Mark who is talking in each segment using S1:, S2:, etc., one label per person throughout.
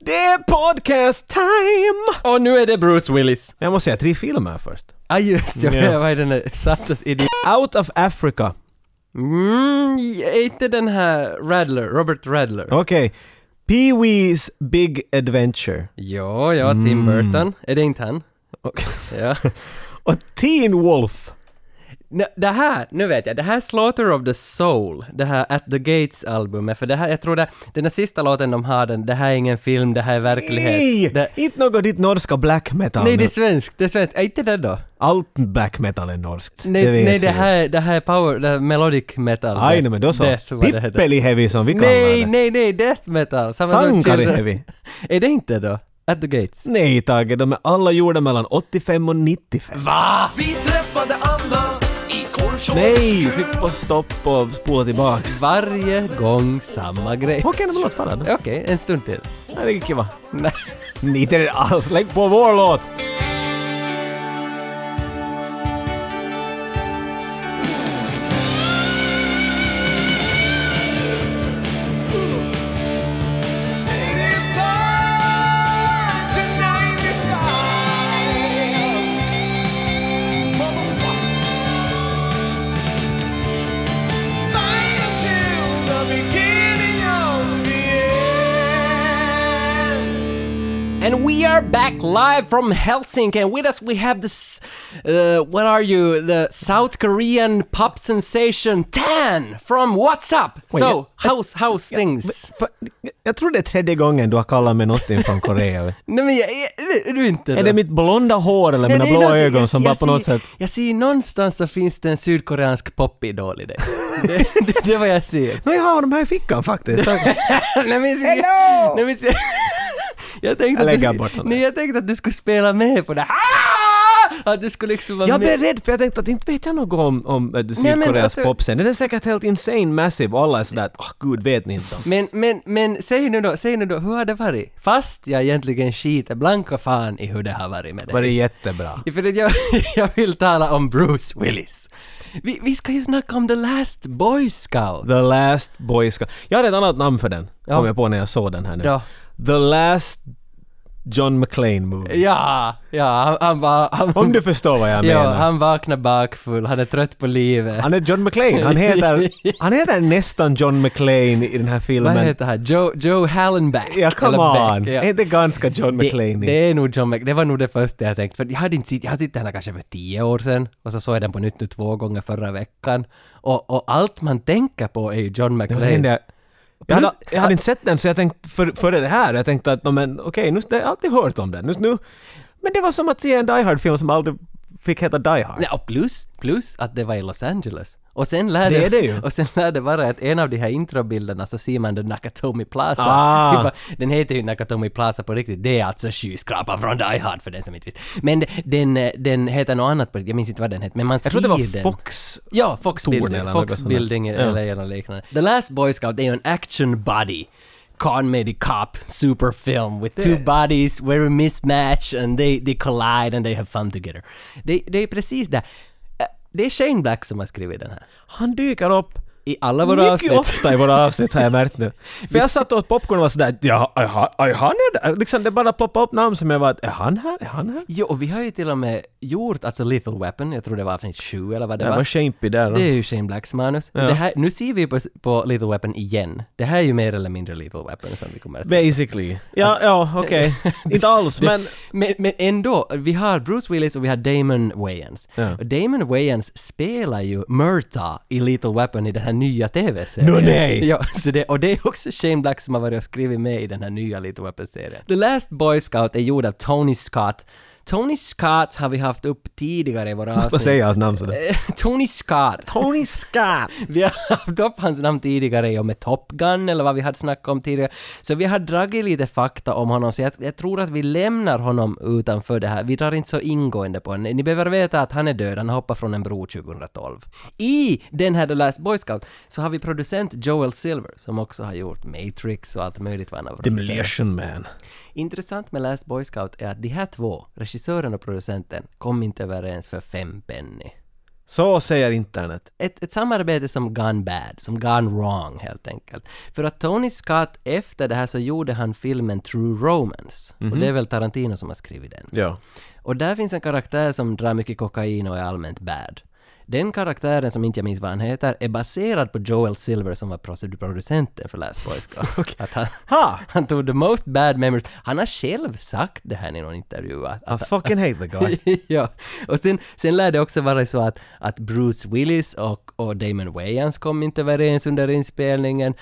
S1: Det är podcast time!
S2: Och nu är det Bruce Willis.
S1: Men jag måste säga tre filmer först.
S2: Ah just jag
S1: Ja.
S2: yeah. vad är den där? Sattes i din...
S1: Out of Africa.
S2: Mm, är inte den här Radler, Robert Radler?
S1: Okej. Pee Wee's Big Adventure.
S2: Ja, ja,
S1: Mm.
S2: Tim Burton. Är det inte han?
S1: Och,
S2: Ja.
S1: och Teen Wolf.
S2: Nå, det här, nu vet jag, det här är Slaughter of the Soul, det här At the Gates-albumet, för det här, jag tror det, den där sista låten de har den, det här är ingen film, det här är verklighet.
S1: Nej!
S2: Det,
S1: Inte något ditt norska black metal
S2: nej,
S1: nu.
S2: det är svenskt, det är svenskt, är inte det då?
S1: Allt black metal är norskt.
S2: Nej,
S1: det vet
S2: nej, det
S1: vi.
S2: här, är- det här är power, det här är melodic metal.
S1: Aj, nej, men då så.
S2: Death, vad det heter.
S1: Pippeli heavy som vi kallar
S2: Nej,
S1: det.
S2: nej, nej, death metal! Samma som
S1: Sankari
S2: Children-
S1: heavy.
S2: Är det inte då? At the Gates?
S1: Nej Tage, de är alla gjorda mellan 85 och 95.
S2: Va?
S3: Vi träffade alla i korvkiosken.
S1: Nej! Tryck på stopp och spola tillbaks.
S2: Varje gång samma grej.
S1: Okej, okay, låt fara då.
S2: Okej, en stund till.
S1: Ja, Det är kiva.
S2: Nej.
S1: Nej, Inte det alls. Lägg på vår låt!
S2: And we are back live from Helsinki and with us we have this... Uh, what are you? The South Korean pop sensation Tan from What's Up!
S1: jag-
S2: so, how's, how's things?
S1: Fa- Jag tror det är tredje gången du har kallat mig någonting från Korea.
S2: Nej men jag, är, är du inte
S1: är det mitt blonda hår eller
S2: Nej,
S1: mina
S2: det är
S1: blå
S2: något-
S1: ögon
S2: jag-
S1: som
S2: jag
S1: bara på något
S2: ser-
S1: sätt...
S2: Jag ser någonstans så finns det en sydkoreansk popidol i dig. det, det, det är vad jag ser.
S1: Nej, jag har dem här i fickan faktiskt.
S2: Nej, men,
S1: Hello!
S2: Nej, men, jag, tänkte
S1: Jag lägger
S2: att
S1: bort
S2: du,
S1: den.
S2: nej, jag tänkte att du skulle spela med på det här. Att du skulle liksom vara
S1: Jag
S2: med.
S1: blev rädd för jag tänkte att inte vet jag något om, om äh,
S2: men
S1: Sydkoreas
S2: alltså-
S1: popscen. Den är säkert helt insane massive och alla är sådär att åh gud vet ni inte om.
S2: Men, men, men säg nu då, säg nu då, hur har det varit? Fast jag egentligen skiter blanka fan i hur det har varit med dig.
S1: Var det jättebra?
S2: För att jag, jag vill tala om Bruce Willis. Vi, vi ska ju snacka om The Last Boy Scout.
S1: The Last Boy Scout. Jag hade ett annat namn för den, kom jag på när jag såg den här nu.
S2: Ja.
S1: The Last John McClane Movie.
S2: Ja, ja, han, han var... Han,
S1: Om du förstår vad jag
S2: ja,
S1: menar. Han...
S2: han vaknar bakfull, han är trött på livet.
S1: är John McClane. Han heter, han heter nästan John McClane i den här
S2: Vad
S1: filmen.
S2: heter han? Joe, Joe Hallenbeck?
S1: Ja, come
S2: Eller Beck,
S1: on.
S2: ja.
S1: Är inte ganska John
S2: Det,
S1: McClane?
S2: det är nog John Mac. Det var nog det första jag tänkte. För jag hade inte sett, jag har sett den här kanske för tio år sedan. Och så såg jag den på nytt nu två gånger förra veckan. Och, och allt man tänker på är ju John
S1: Det var den
S2: McClane.
S1: där- Jag hade,
S2: Plus-
S1: jag hade inte sett den så jag tänkte för, före det här, jag tänkte att "Nå, men okej, nu har jag har alltid hört om den. Nu, nu, men det var som att se en Die Hard-film som aldrig fick heta Die Hard.
S2: Ja, och plus, plus att det var i Los Angeles. Och sen lär
S1: Det är det ju.
S2: Och sen lär det vara att en av de här introbilderna så ser man den Nakatomi Plaza.
S1: Ah.
S2: Det var- Den heter ju Nakatomi Plaza på riktigt. Det är alltså skyskrapan från Die Hard för den som inte visste. Men den, eh, den heter något annat på riktigt. Jag minns inte vad den heter, men man
S1: jag
S2: ser
S1: trodde det var
S2: den.
S1: Fox...
S2: Ja, Fox
S1: Torn
S2: Building,
S1: eller något
S2: Fox
S1: sånt.
S2: Building
S1: Ja.
S2: eller något liknande. The Last Boy Scout är ju en action buddy. Comedy cop superfilm with two bodies where a mismatch and they, they collide and they have fun together. Det, det är precis det. Eh, Det är Shane Black som har skrivit den här.
S1: Han dyker upp
S2: I alla våra
S1: mycket
S2: avsnitt.
S1: ofta i våra avsnitt har jag märkt nu. För jag satt och åt popcorn och var sådär ja, är han- är han är där?" Liksom det bara ploppade upp namn som jag var att är han här? Är han här?
S2: Jo, och vi har ju till och med gjort alltså Little Weapon, jag tror det var avsnitt 7 eller vad det
S1: Det var
S2: var.
S1: shapey där.
S2: Det är ju Shane Blacks manus. Det här, nu ser vi på, på Little Weapon igen. Det här är ju mer eller mindre Little Weapon som vi kommer att se.
S1: Basically. Alltså- Ja, ja, okej. Inte alls, men...
S2: Men, men ändå, vi har Bruce Willis och vi har Damon Wayans.
S1: Ja.
S2: Och Damon Wayans spelar ju Murta i Little Weapon i den här nya TV-serien.
S1: Nå, nej!
S2: Ja, så det, och det är också Shane Black som har varit och skrivit med i den här nya Little Weapon-serien. The Last Boy Scout är gjord av Tony Scott. Tony Scott har vi haft upp tidigare i våra
S1: Jag ska
S2: avsnitt.
S1: säga hans namn sådär.
S2: Eh, Tony Scott.
S1: Tony Scott!
S2: Vi har haft upp hans namn tidigare i och med Top Gun eller vad vi hade snackat om tidigare. Så vi har dragit lite fakta om honom så jag, jag tror att vi lämnar honom utanför det här. Vi drar inte så ingående på honom. Ni behöver veta att han är död, han hoppade från en bro 2012. I den här The Last Boy Scout så har vi producent Joel Silver som också har gjort Matrix och allt möjligt vad han har producerat.
S1: Demolition Man.
S2: Intressant med Last Boy Scout är att de här två, regissören och producenten, kom inte överens för fem penny.
S1: Så säger internet.
S2: ett, ett samarbete som gone bad, som gone wrong helt enkelt. För att Tony Scott efter det här så gjorde han filmen True Romance. Och det är väl Tarantino som har skrivit den.
S1: Ja.
S2: Och där finns en karaktär som drar mycket kokain och är allmänt bad. Den karaktären, som inte jag minns vad han heter, är baserad på Joel Silver som var produ- producenten för Last Boy Scout. att han,
S1: Ha!
S2: han tog the most bad memories. Han har själv sagt det här i någon intervju. Att,
S1: I fucking hate the guy.
S2: ja, och sen, sen lär det också vara så att, att Bruce Willis och, och Damon Wayans kom inte överens under inspelningen.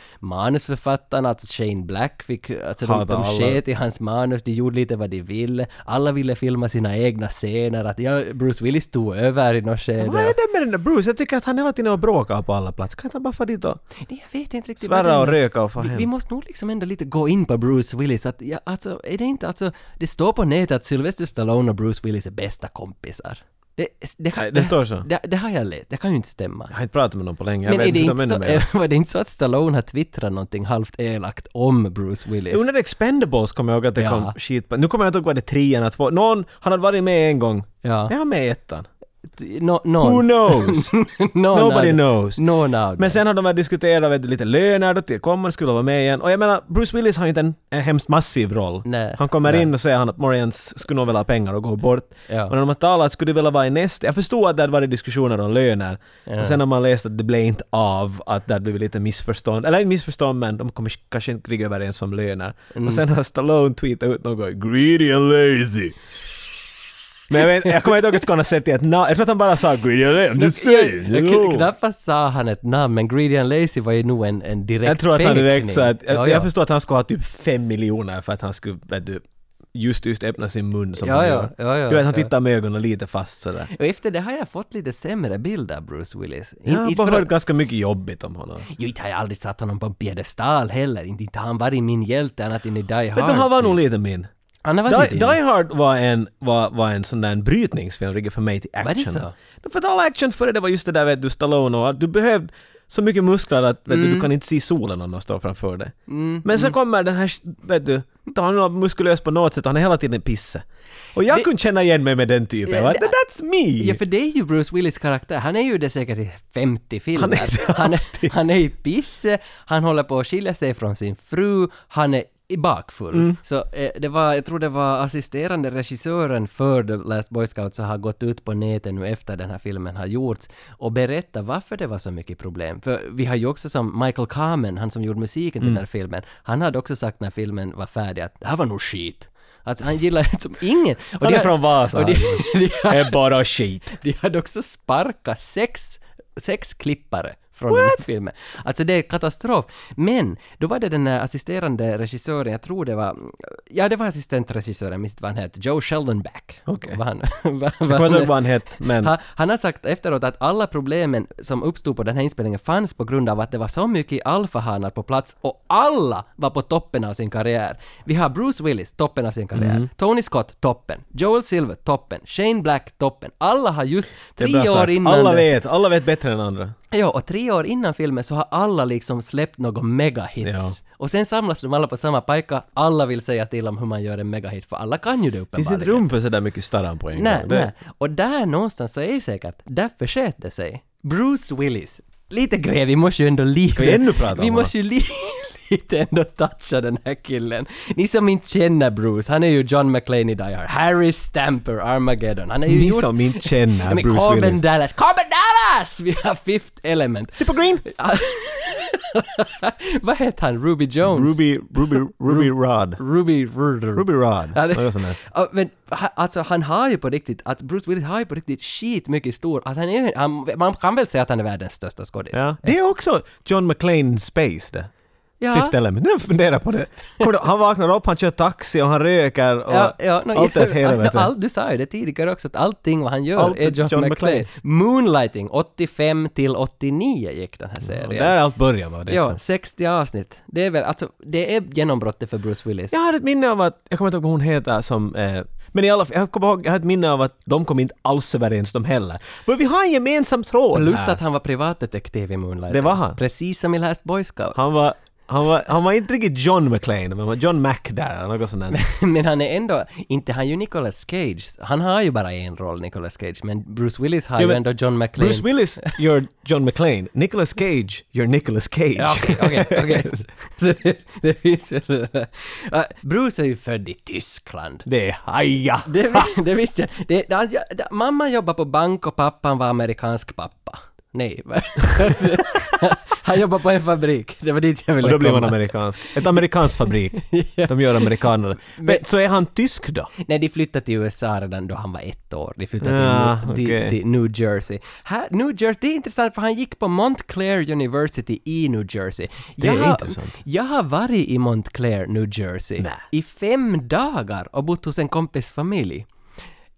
S2: Manusförfattarna, alltså Shane Black, fick, alltså de,
S1: Hata
S2: de
S1: alla.
S2: sket i hans manus, de gjorde lite vad de ville. Alla ville filma sina egna scener, att ja, Bruce Willis tog över i något skede.
S1: Vad är det med den där Bruce? Jag tycker att han hela tiden har bråkat på alla platser. Kan inte han bara få dit och
S2: Nej, jag vet inte riktigt. vad det
S1: svärra och
S2: är.
S1: röka och få
S2: Vi, vi
S1: hem?
S2: måste nog liksom ändå lite gå in på Bruce Willis. Att, ja, alltså, är det inte alltså, det står på nätet att Sylvester Stallone och Bruce Willis är bästa kompisar. Det, det, kan-
S1: Nej, det står så.
S2: Det, det har jag läst, det kan ju inte stämma.
S1: Jag har inte pratat med någon på länge. Jag
S2: Men
S1: vet
S2: är det
S1: inte
S2: inte
S1: vad de
S2: så,
S1: menar med det.
S2: var det inte så att Stallone har twittrat någonting halvt elakt om Bruce Willis?
S1: Under Expendables kommer jag ihåg att det
S2: Ja.
S1: kom skit på. Nu kommer jag inte ihåg vad det är, trean eller två. Någon, han hade varit med en gång.
S2: Ja.
S1: Är han med i ettan?
S2: T- No,
S1: Who
S2: någon.
S1: knows?
S2: någon
S1: Nobody
S2: av-
S1: knows.
S2: Någon av
S1: Men
S2: dem.
S1: sen har de väl diskuterat vet du, lite löner, då till- kommer skulle vara med igen. Och jag menar, Bruce Willis har ju inte en, en hemskt massiv roll.
S2: Nej.
S1: Han kommer
S2: Nej.
S1: in och säger han att Morians skulle nog vilja ha pengar och gå bort.
S2: Ja.
S1: Och när de har talat skulle det vilja vara i nästa. Jag förstod att det hade varit diskussioner om löner.
S2: Ja.
S1: Och sen har man läst att det blev inte av, att det hade blivit lite missförstånd. Eller inte missförstånd men de kommer kanske inte riktigt överens om löner.
S2: Mm.
S1: Och sen har Stallone tweetat ut något “Greedy and lazy”. Men jag, vet, jag kommer inte ihåg att han har sett det. No, jag tror att han bara sa “Greedy and lazy”. I'm just saying.
S2: Jag-
S1: you
S2: jag-
S1: know."
S2: Knappast sa han ett namn, men Greedy and Lazy var ju nog en, en direkt
S1: Jag tror att han direkt
S2: pekning.
S1: sa att, jag,
S2: ja, ja.
S1: jag förstår att han skulle ha typ fem miljoner för att han skulle, vet du, just, just öppna sin mun som
S2: Ja,
S1: han
S2: ja,
S1: gör.
S2: ja, ja,
S1: du vet, han
S2: ja.
S1: tittar med ögonen lite fast sådär.
S2: Och efter det har jag fått lite sämre bild av Bruce Willis. In-
S1: Jag har
S2: inte
S1: bara
S2: för att-
S1: hört ganska mycket jobbigt om honom.
S2: Jo, inte har jag aldrig satt honom på en piedestal heller. Inte, inte har han varit min hjälte annat än i Die Hard.
S1: Vet du, han var
S2: typ.
S1: nog lite min.
S2: Han har varit
S1: Die,
S2: min.
S1: Die Hard var en, var, var en sån där en brytningsfilm riktigt för mig till
S2: det
S1: action.
S2: så?
S1: För att all action före det var just det där vet du, Stallone och att du behövde så mycket muskler att vet
S2: Mm.
S1: du, du kan inte se solen om någon står framför dig. Men så kommer den här, vet du, han är muskulös på något sätt, han är hela tiden pisse. Och jag kunde känna igen mig med den typen.
S2: Ja,
S1: va?
S2: det-
S1: That's me!
S2: Ja, för det är ju Bruce Willis karaktär. Han är ju det säkert i 50
S1: Han
S2: filmer.
S1: är det
S2: Han är, han är i pisse, han håller på att skilja sig från sin fru, han är i bakfull.
S1: Mm.
S2: Så eh, det var, jag tror det var assisterande regissören för The Last Boy Scout som har gått ut på nätet nu efter den här filmen har gjorts och berättat varför det var så mycket problem. För vi har ju också som Michael Kamen, han som gjorde
S1: Mm.
S2: musiken till den här filmen, han hade också sagt när filmen var färdig att det här var nog skit. Alltså han gillar som ingen. Och
S1: han
S2: det
S1: är från Vasa.
S2: och
S1: Det
S2: det, det har
S1: är bara skit.
S2: de hade också sparkat sex, sex klippare från den här filmen. Alltså det är katastrof. Men då var det den där assisterande regissören, jag tror det var, ja det var assistentregissören, jag minns inte vad han hette, Joe Sheldonback.
S1: Okej.
S2: Vad han, vad,
S1: Jag kommer
S2: vad
S1: inte ihåg
S2: han,
S1: vad han hette, men...
S2: han, han har sagt efteråt att alla problemen som uppstod på den här inspelningen fanns på grund av att det var så mycket alfahanar på plats och alla var på toppen av sin karriär. Vi har Bruce Willis, toppen av sin karriär.
S1: Mhm.
S2: Tony Scott, toppen. Joel Silver, toppen. Shane Black, toppen. Alla har just
S1: det är
S2: tre
S1: bra
S2: år
S1: sagt.
S2: innan...
S1: alla
S2: det-
S1: vet, alla vet bättre än andra.
S2: Ja, och tre år innan filmen så har alla liksom släppt några megahits.
S1: Ja.
S2: Och sen samlas de alla på samma pajka, alla vill säga till om hur man gör en megahit, för alla kan ju det
S1: Finns
S2: uppenbarligen.
S1: det inte rum för sådär mycket starran på en
S2: Nej,
S1: gång? Det-
S2: nej. Och där någonstans så är det säkert, där försköt det sig. Bruce Willis. Lite grej, vi måste ju ändå lite...
S1: vi ännu prata om
S2: Vi måste ju li, lite ändå toucha den här killen. Ni som inte känner Bruce, han är ju John McClane i Die Hard. Harry Stamper, Armageddon. Han är ju
S1: Ni
S2: gjort-
S1: som inte
S2: Ja,
S1: känner
S2: men
S1: Bruce
S2: Corbin
S1: Willis.
S2: Dallas. Corbin Dallas! Vi har Fifth Element.
S1: Zippo Green!
S2: Vad heter han? Ruby Jones?
S1: Ruby, Ruby, Ruby Rod.
S2: Ruby... Ruby
S1: Ruby Rod.
S2: Ja, det-
S1: Något sånt där.
S2: Ja, men ha- alltså han har ju på riktigt, att Bruce Willis har ju på riktigt skit mycket stor, att han är han, man kan väl säga att han är världens största skådis.
S1: Ja. Det är också John McClane Space det.
S2: Ja.
S1: Fifth Element. Nu funderar jag på det. Kommer du- Han vaknar upp, han kör taxi och han röker och
S2: Ja, ja, no,
S1: allt är ett helvete.
S2: all, du sa ju det tidigare också, att allting vad han gör
S1: Allt
S2: är
S1: är
S2: John,
S1: John
S2: McClane.
S1: McClane.
S2: Moonlighting, 85 till 89 gick den här serien.
S1: Där är allt börjar var det liksom.
S2: ja,
S1: ja.
S2: 60 avsnitt. Det är väl, alltså, det är genombrottet för Bruce Willis.
S1: Jag har ett minne av att, jag kommer inte ihåg vad hon heter som, eh, men i alla fall, jag kommer ihåg, jag har ett minne av att de kom inte alls överens de heller. Men vi har en gemensam tråd
S2: Plus
S1: här.
S2: att han var privatdetektiv i Moonlighting.
S1: Det var han.
S2: Precis som i Last Boy Scout.
S1: Han var Han var, han var inte riktigt John McClane, men han var John Mac där, eller något sånt där.
S2: Men han är ändå, inte han ju Nicolas Cage. Han har ju bara en roll, Nicolas Cage, men Bruce Willis har
S1: Jo,
S2: ju
S1: men
S2: ändå John McClane.
S1: Bruce Willis, you're John McClane. Nicolas Cage, you're Nicolas Cage.
S2: Ja, Okej, okej, okej. Så det- det finns ju det där. Ja, Bruce är ju född i Tyskland.
S1: Det är haja.
S2: Det, vi- det visste jag. Det, det, han- det, mamma jobbade på bank och pappan var amerikansk pappa. Nej, va? Han jobbade på en fabrik. Det var dit jag ville
S1: Och då blev han
S2: komma.
S1: amerikansk. Ett amerikanskt fabrik. De gör amerikaner. Men, så är han tysk då?
S2: Nej, de flyttade till USA redan då han var ett år. De flyttade
S1: Ja,
S2: till, New,
S1: Ah, okej.
S2: till, till New Jersey. Här, New Jersey, det är intressant för han gick på Montclair University i New Jersey.
S1: Det är
S2: jag, har-
S1: intressant.
S2: Jag har varit i Montclair, New Jersey
S1: Nä.
S2: i fem dagar och bott hos en kompis familj.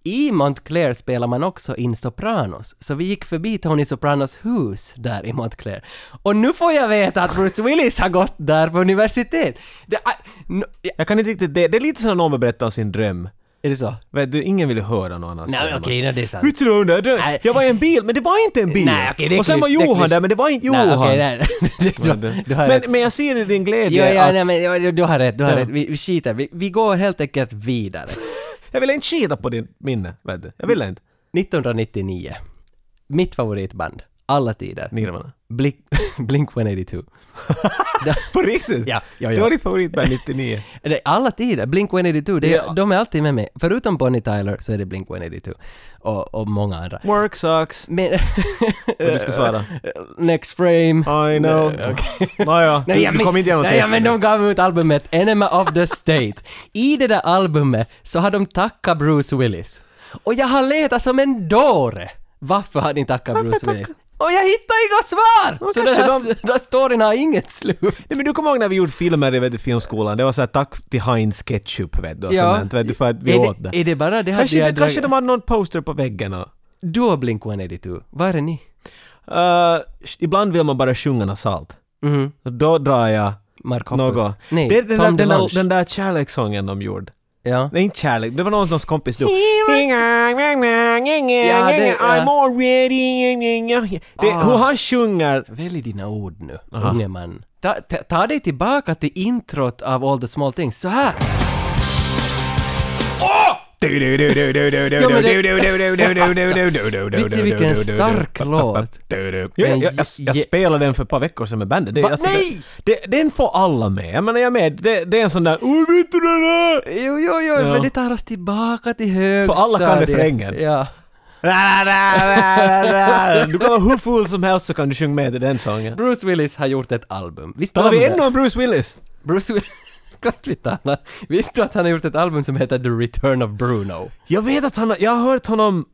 S2: I Montclair spelar man också in Sopranos, så vi gick förbi Tony Sopranos hus där i Montclair. Och nu får jag veta att Bruce Willis har gått där på universitet! Det, ah, no,
S1: Jag kan inte riktigt... Det, det är lite som när någon berättar om sin dröm.
S2: är det så?
S1: Vet du, ingen vill höra någon annans
S2: Nej,
S1: drömmar.
S2: okej, nej, det är sant.
S1: Hur tror du? det?
S2: Nej.
S1: Jag var i en bil, men det var inte en bil.
S2: Nej, okej, det är
S1: Och sen var
S2: klysch- det är
S1: Johan
S2: klysch.
S1: där, men det var inte Johan.
S2: Nej, okej, nej. du, du, du har
S1: men,
S2: rätt.
S1: men jag ser i din
S2: Jo,
S1: glädje
S2: ja,
S1: att
S2: nej, men, ja, du- du har rätt, du har
S1: Ja.
S2: rätt. Vi, vi skiter, vi, vi går helt enkelt vidare.
S1: jag vill inte skita på din minne. Vet du. Jag vill inte.
S2: 1999. Mitt favoritband, alla tider.
S1: Nirvana.
S2: Blink, Blink 182.
S1: På riktigt?
S2: Ja, ja,
S1: Det
S2: ja.
S1: var ditt favoritband 99.
S2: Det- Alla tider, Blink 182, det, är-
S1: Ja.
S2: de är alltid med mig. Förutom Bonnie Tyler så är det Blink 182. Och, och många andra.
S1: Work sucks.
S2: Men...
S1: Du ska svara.
S2: Next frame.
S1: I know. Nåja, du,
S2: jag
S1: du
S2: men-
S1: kom inte igenom
S2: nej,
S1: testet.
S2: men de gav ut albumet Enema of the State. I det där albumet så har de tackat Bruce Willis. Och jag har letat som en dåre. Varför har ni tackat Bruce
S1: tacka-
S2: Willis? Och jag hittar inga svar! så den
S1: kanske
S2: här,
S1: de-
S2: den här storyn har inget slut.
S1: Nej, men du kommer ihåg när vi gjorde filmer i vet du, filmskolan? Det var såhär tack till Heinz Ketchup vet du, och
S2: Ja.
S1: sånt, där, vet du för att vi
S2: är,
S1: åt
S2: det,
S1: det.
S2: är det bara det här
S1: Kanske,
S2: jag
S1: det,
S2: drar-
S1: kanske de hade någon poster på väggen och...
S2: Du och Blink-182, var är ni?
S1: Eh, ibland vill man bara sjunga något salt.
S2: Mhm.
S1: Och Då drar jag
S2: Mark Hoppus.
S1: något.
S2: Nej,
S1: det är den,
S2: Tom
S1: där, den,
S2: DeLonge.
S1: där, den där kärlekssången de gjorde.
S2: Ja.
S1: Nej, inte kärlek. Det var någon någons kompis då. I'm already... Det,
S2: Ah.
S1: hur han sjunger...
S2: Välj dina ord nu,
S1: Aha.
S2: unge man. Ta, ta, ta dig tillbaka till introt av All the small things, så här. Vet du vilken stark låt?
S1: Jag, jag, jag, jag spelade den för ett par veckor sedan med bandet. Det,
S2: Va?
S1: alltså,
S2: Nej!
S1: Det, det, den får alla med. Jag menar, jag är med. Det, det är en sån där... Oj, vet du den där?
S2: Jo, jo, jo, men det tar oss tillbaka till högstadiet.
S1: alla kan refrängen.
S2: Ja.
S1: Du kan vara hur full som helst så kan du sjunga med i den sången.
S2: Bruce Willis har gjort ett album. Visst
S1: Talar
S2: om
S1: vi
S2: det?
S1: ännu om Bruce Willis?
S2: Bruce Willis... Klart vi talar. Visste du att han har gjort ett album som heter The Return of Bruno?
S1: Jag vet att han har- jag har hört honom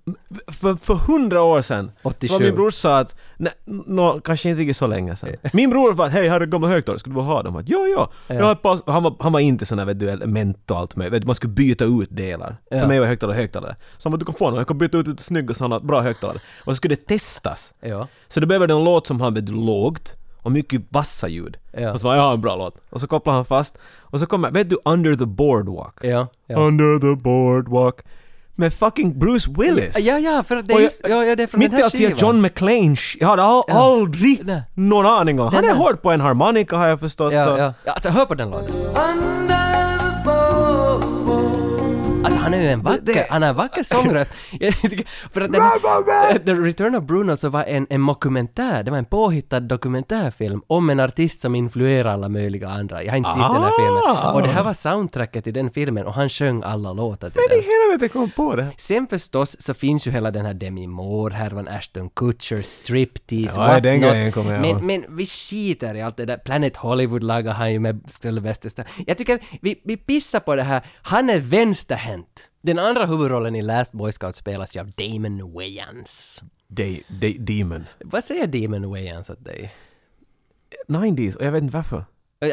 S1: för, för hundra år sedan.
S2: 87.
S1: Så min bror sa att, nej, nå, kanske inte riktigt så länge sedan. Min bror var att, hej, här är gamla högtalare, skulle du vilja ha dem? Jag bara, Ja, ja. Jag har ett par, han, var, han var inte sån där vet du, element och allt möjligt, Vet du, man skulle byta ut delar. För mig var högtalare högtalare. Så han bara, du kan få dem, jag kan byta ut lite snygga sådana bra högtalare. Och så skulle det testas.
S2: Ja.
S1: Så då behöver det en låt som han vet lågt och mycket vassa ljud.
S2: Ja.
S1: Och så var jag har en bra låt. Och så kopplar han fast. Och så kommer, vet du, Under the Boardwalk?
S2: Ja. Ja,
S1: Under the boardwalk. Med fucking Bruce Willis!
S2: ja, ja för att det
S1: Och
S2: är,
S1: jag-
S2: just, ja, ja, det är från
S1: Mitt
S2: den här
S1: i
S2: skivan.
S1: att John McClane, sh- jag hade all, aldrig
S2: Nej.
S1: någon aning om. Han
S2: Nej,
S1: är
S2: nej.
S1: hård på en harmonika har jag förstått.
S2: Ja,
S1: och-
S2: ja. ja. Alltså, hör på den låten. Alltså han är ju en vacker,
S1: det-
S2: han har en vacker sångröst. Jag tycker- För att den, The Return of Bruno så var en, en mockumentär, det var en påhittad dokumentärfilm om en artist som influerar alla möjliga andra. Jag har inte sett den här
S1: Ah.
S2: filmen. Och det här var soundtracket till den filmen och han sjöng alla låtar till
S1: Men i
S2: den.
S1: helvete kom på det?
S2: Sen förstås så finns ju hela den här Demi Moore-härvan, Ashton Kutcher, Striptease,
S1: Ja,
S2: whatnot.
S1: den grejen kommer jag ihåg.
S2: men, men vi skiter i allt det där. Planet Hollywood lagar han ju med Sylvester Stallone. Jag tycker vi, vi pissar på det här. Han är vänsterhänt. Den andra huvudrollen i Last Boy Scout spelas ju av Damon Wayans.
S1: De, de, demon.
S2: Vad säger Damon Wayans åt dig?
S1: 90s, och jag vet inte varför.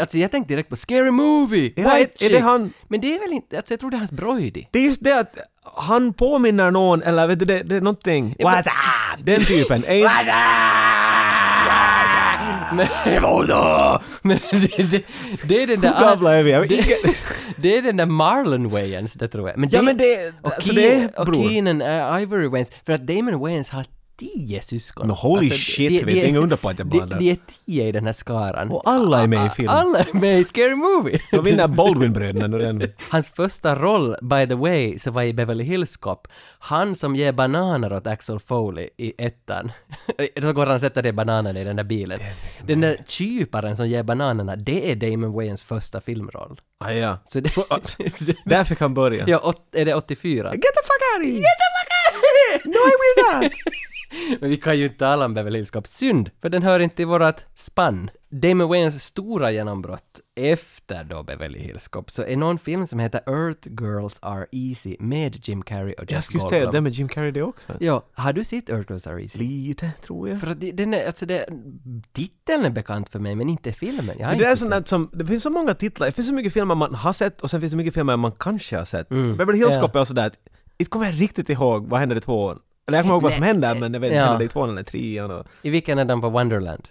S2: Alltså jag tänkte direkt på Scary Movie!
S1: Ja,
S2: White
S1: är- är det
S2: Chicks.
S1: han-
S2: Men det är väl inte... Alltså jag tror det är hans Broidy.
S1: Det är just det att han påminner någon, eller vet du, det, det är någonting. What's up? Den typen. Ain't-
S2: Ah. Men vadå? Men det, det, det är den där...
S1: Hur gamla är vi? Jag vet
S2: Det,
S1: inte.
S2: det är den där Marlon Wayans, det tror jag. Men
S1: Ja, men det-
S2: och
S1: alltså det är
S2: Oh, Keen- och
S1: bror.
S2: Keenan, eh, Ivory Wayans. För att Damon Wayans har tio syskon.
S1: No, holy shit, vet du, inga under på att jag
S2: de,
S1: bandar.
S2: de är tio i den här skaran.
S1: Och alla är med i Oh, film.
S2: Alla är med i Scary Movie!
S1: De vinner Baldwin-bröderna nu redan.
S2: Hans första roll, by the way, så var i Beverly Hills Cop. Han som ger bananer åt Axel Foley i ettan. så går han och sätter de bananerna i den där bilen. Den där kyparen som ger bananerna, det är Damon Wayans första filmroll.
S1: Ah, ja.
S2: Så det...
S1: Där fick han börja.
S2: ja, åt, är det 84?
S1: Get the fuck out of here! Get the fuck out of here! No I will not!
S2: Men vi kan ju inte tala om Beverly Hills Cop. Synd, för den hör inte i vårat spann. Damon Wayans stora genombrott efter då Beverly Hills Cop så är någon film som heter Earth Girls Are Easy med Jim Carrey och
S1: Jag
S2: Jeff
S1: skulle
S2: Goldblum.
S1: säga det med Jim Carrey det också.
S2: Ja, har du sett Earth Girls Are Easy?
S1: Lite, tror jag.
S2: För att det- den är, alltså det, titeln är bekant för mig men inte filmen. Jag har
S1: Det
S2: inte
S1: är
S2: sett
S1: sånt
S2: den.
S1: där som, det finns så många titlar, det finns så mycket filmer man har sett och sen finns det mycket filmer man kanske har sett. Beverly Hills Cop är också där, att inte kommer jag riktigt ihåg vad hände i tvåan. Eller jag kommer ihåg vad som hände men jag vet inte,
S2: Ja.
S1: hände det i tvåan eller trean? Och,
S2: I vilken är den på Wonderland?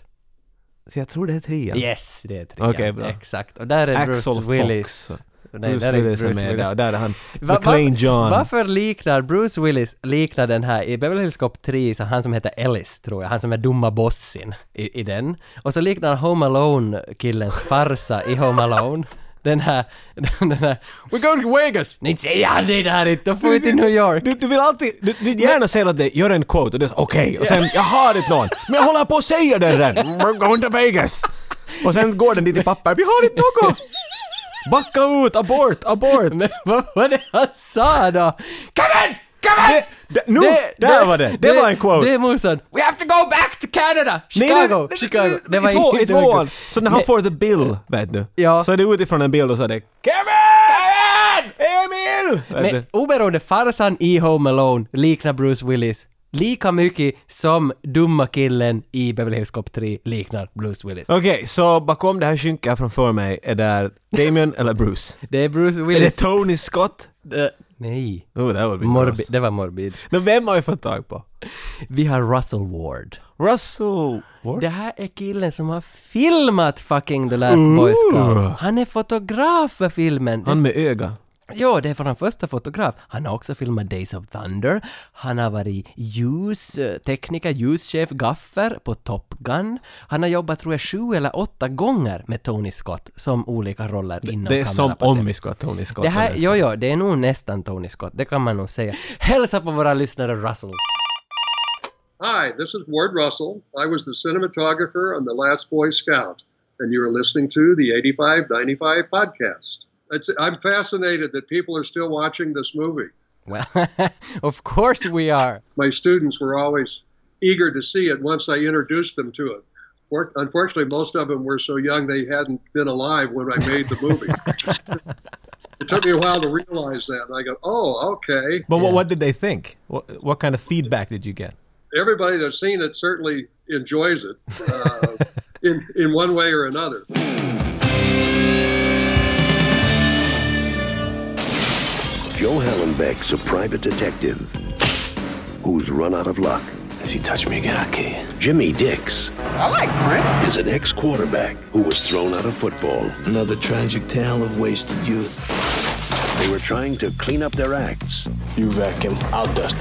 S1: så jag tror det är trean.
S2: Yes, det är trean.
S1: Okej, bra.
S2: Exakt. Och där är
S1: Axel
S2: Bruce
S1: Fox.
S2: Willis. Nej,
S1: Bruce
S2: där är
S1: Willis är med där, och där är han,
S2: Va- va-
S1: McLean John.
S2: Varför liknar Bruce Willis liknar den här i Beverly Hills Cop 3, så han som heter Ellis tror jag, han som är dumma bossen i, i den. Och så liknar Home Alone-killens farsa i Home Alone. Den här, den här, We're going to Vegas! Nej, säg aldrig det här inte! Då får vi till New York!
S1: Du, du vill alltid, du, du gärna säger att det, gör en quote och det är så, okej, och sen jag har inte någon, men jag håller på att säga den Mm, redan. We're going to Vegas! Och sen går den dit i papper, vi har inte något! Backa ut, abort, abort!
S2: Men vad var det han sa då? Come in! Come in!
S1: Det, det, nu, där var det! Det var en quote!
S2: Det är morsan. We have to go back to Canada! Chicago! Chicago!
S1: I, två, i
S2: det var
S1: tvåan!
S2: inte-
S1: Så när han
S2: Nej.
S1: får the bill, vet du.
S2: Ja.
S1: Så är det utifrån en bild och så är det Kevin! Emil! Vet
S2: Men
S1: du.
S2: oberoende, farsan i Home Alone liknar Bruce Willis lika mycket som dumma killen i Beverly Hills Cop 3 liknar Bruce Willis.
S1: Okej, så bakom det här skynket framför mig är där Damien eller Bruce?
S2: Det är Bruce
S1: Är det
S2: Willis...
S1: Tony Scott?
S2: Eh, nej.
S1: Oh, det var
S2: Morbid. Det var morbid.
S1: Men vem har vi fått tag på?
S2: Vi har Russell Ward.
S1: Russell Ward?
S2: Det här är killen som har filmat fucking The Last Boy Scout. Han är fotograf för filmen.
S1: Han med öga.
S2: Ja, det är vår första fotograf. Han har också filmat Days of Thunder. Han har varit ljus, eh, tekniker, ljuschef, gaffer på Top Gun. Han har jobbat, tror jag, sju eller åtta gånger med Tony Scott som olika roller inom
S1: Det är som
S2: kamerapatent.
S1: om vi ska ha Tony Scott.
S2: Det här,
S1: eller så.
S2: jo, jo, det är nog nästan Tony Scott, det kan man nog säga. Hälsa på våra lyssnare Russell.
S4: Hi, this is Ward Russell. I was the cinematographer on The Last Boy Scout, and you are listening to the 85 95 podcast. It's, I'm fascinated that people are still watching this movie.
S2: Well, of course we are.
S4: My students were always eager to see it once I introduced them to it. Or- Unfortunately, most of them were so young they hadn't been alive when I made the movie. it took me a while to realize that. And I go, oh, okay.
S1: But what, what did they think? What, what kind of feedback did you get?
S4: Everybody that's seen it certainly enjoys it uh, in, in one way or another.
S5: Joe Hallenbeck's a private detective who's run out of luck.
S6: If you touch me again, I'll kill you.
S5: Jimmy Dix
S3: I like Prince.
S5: is an ex quarterback who was thrown out of football.
S6: Another tragic tale of wasted youth.
S5: They were trying to clean up their acts
S6: You wreck him, I'll dust.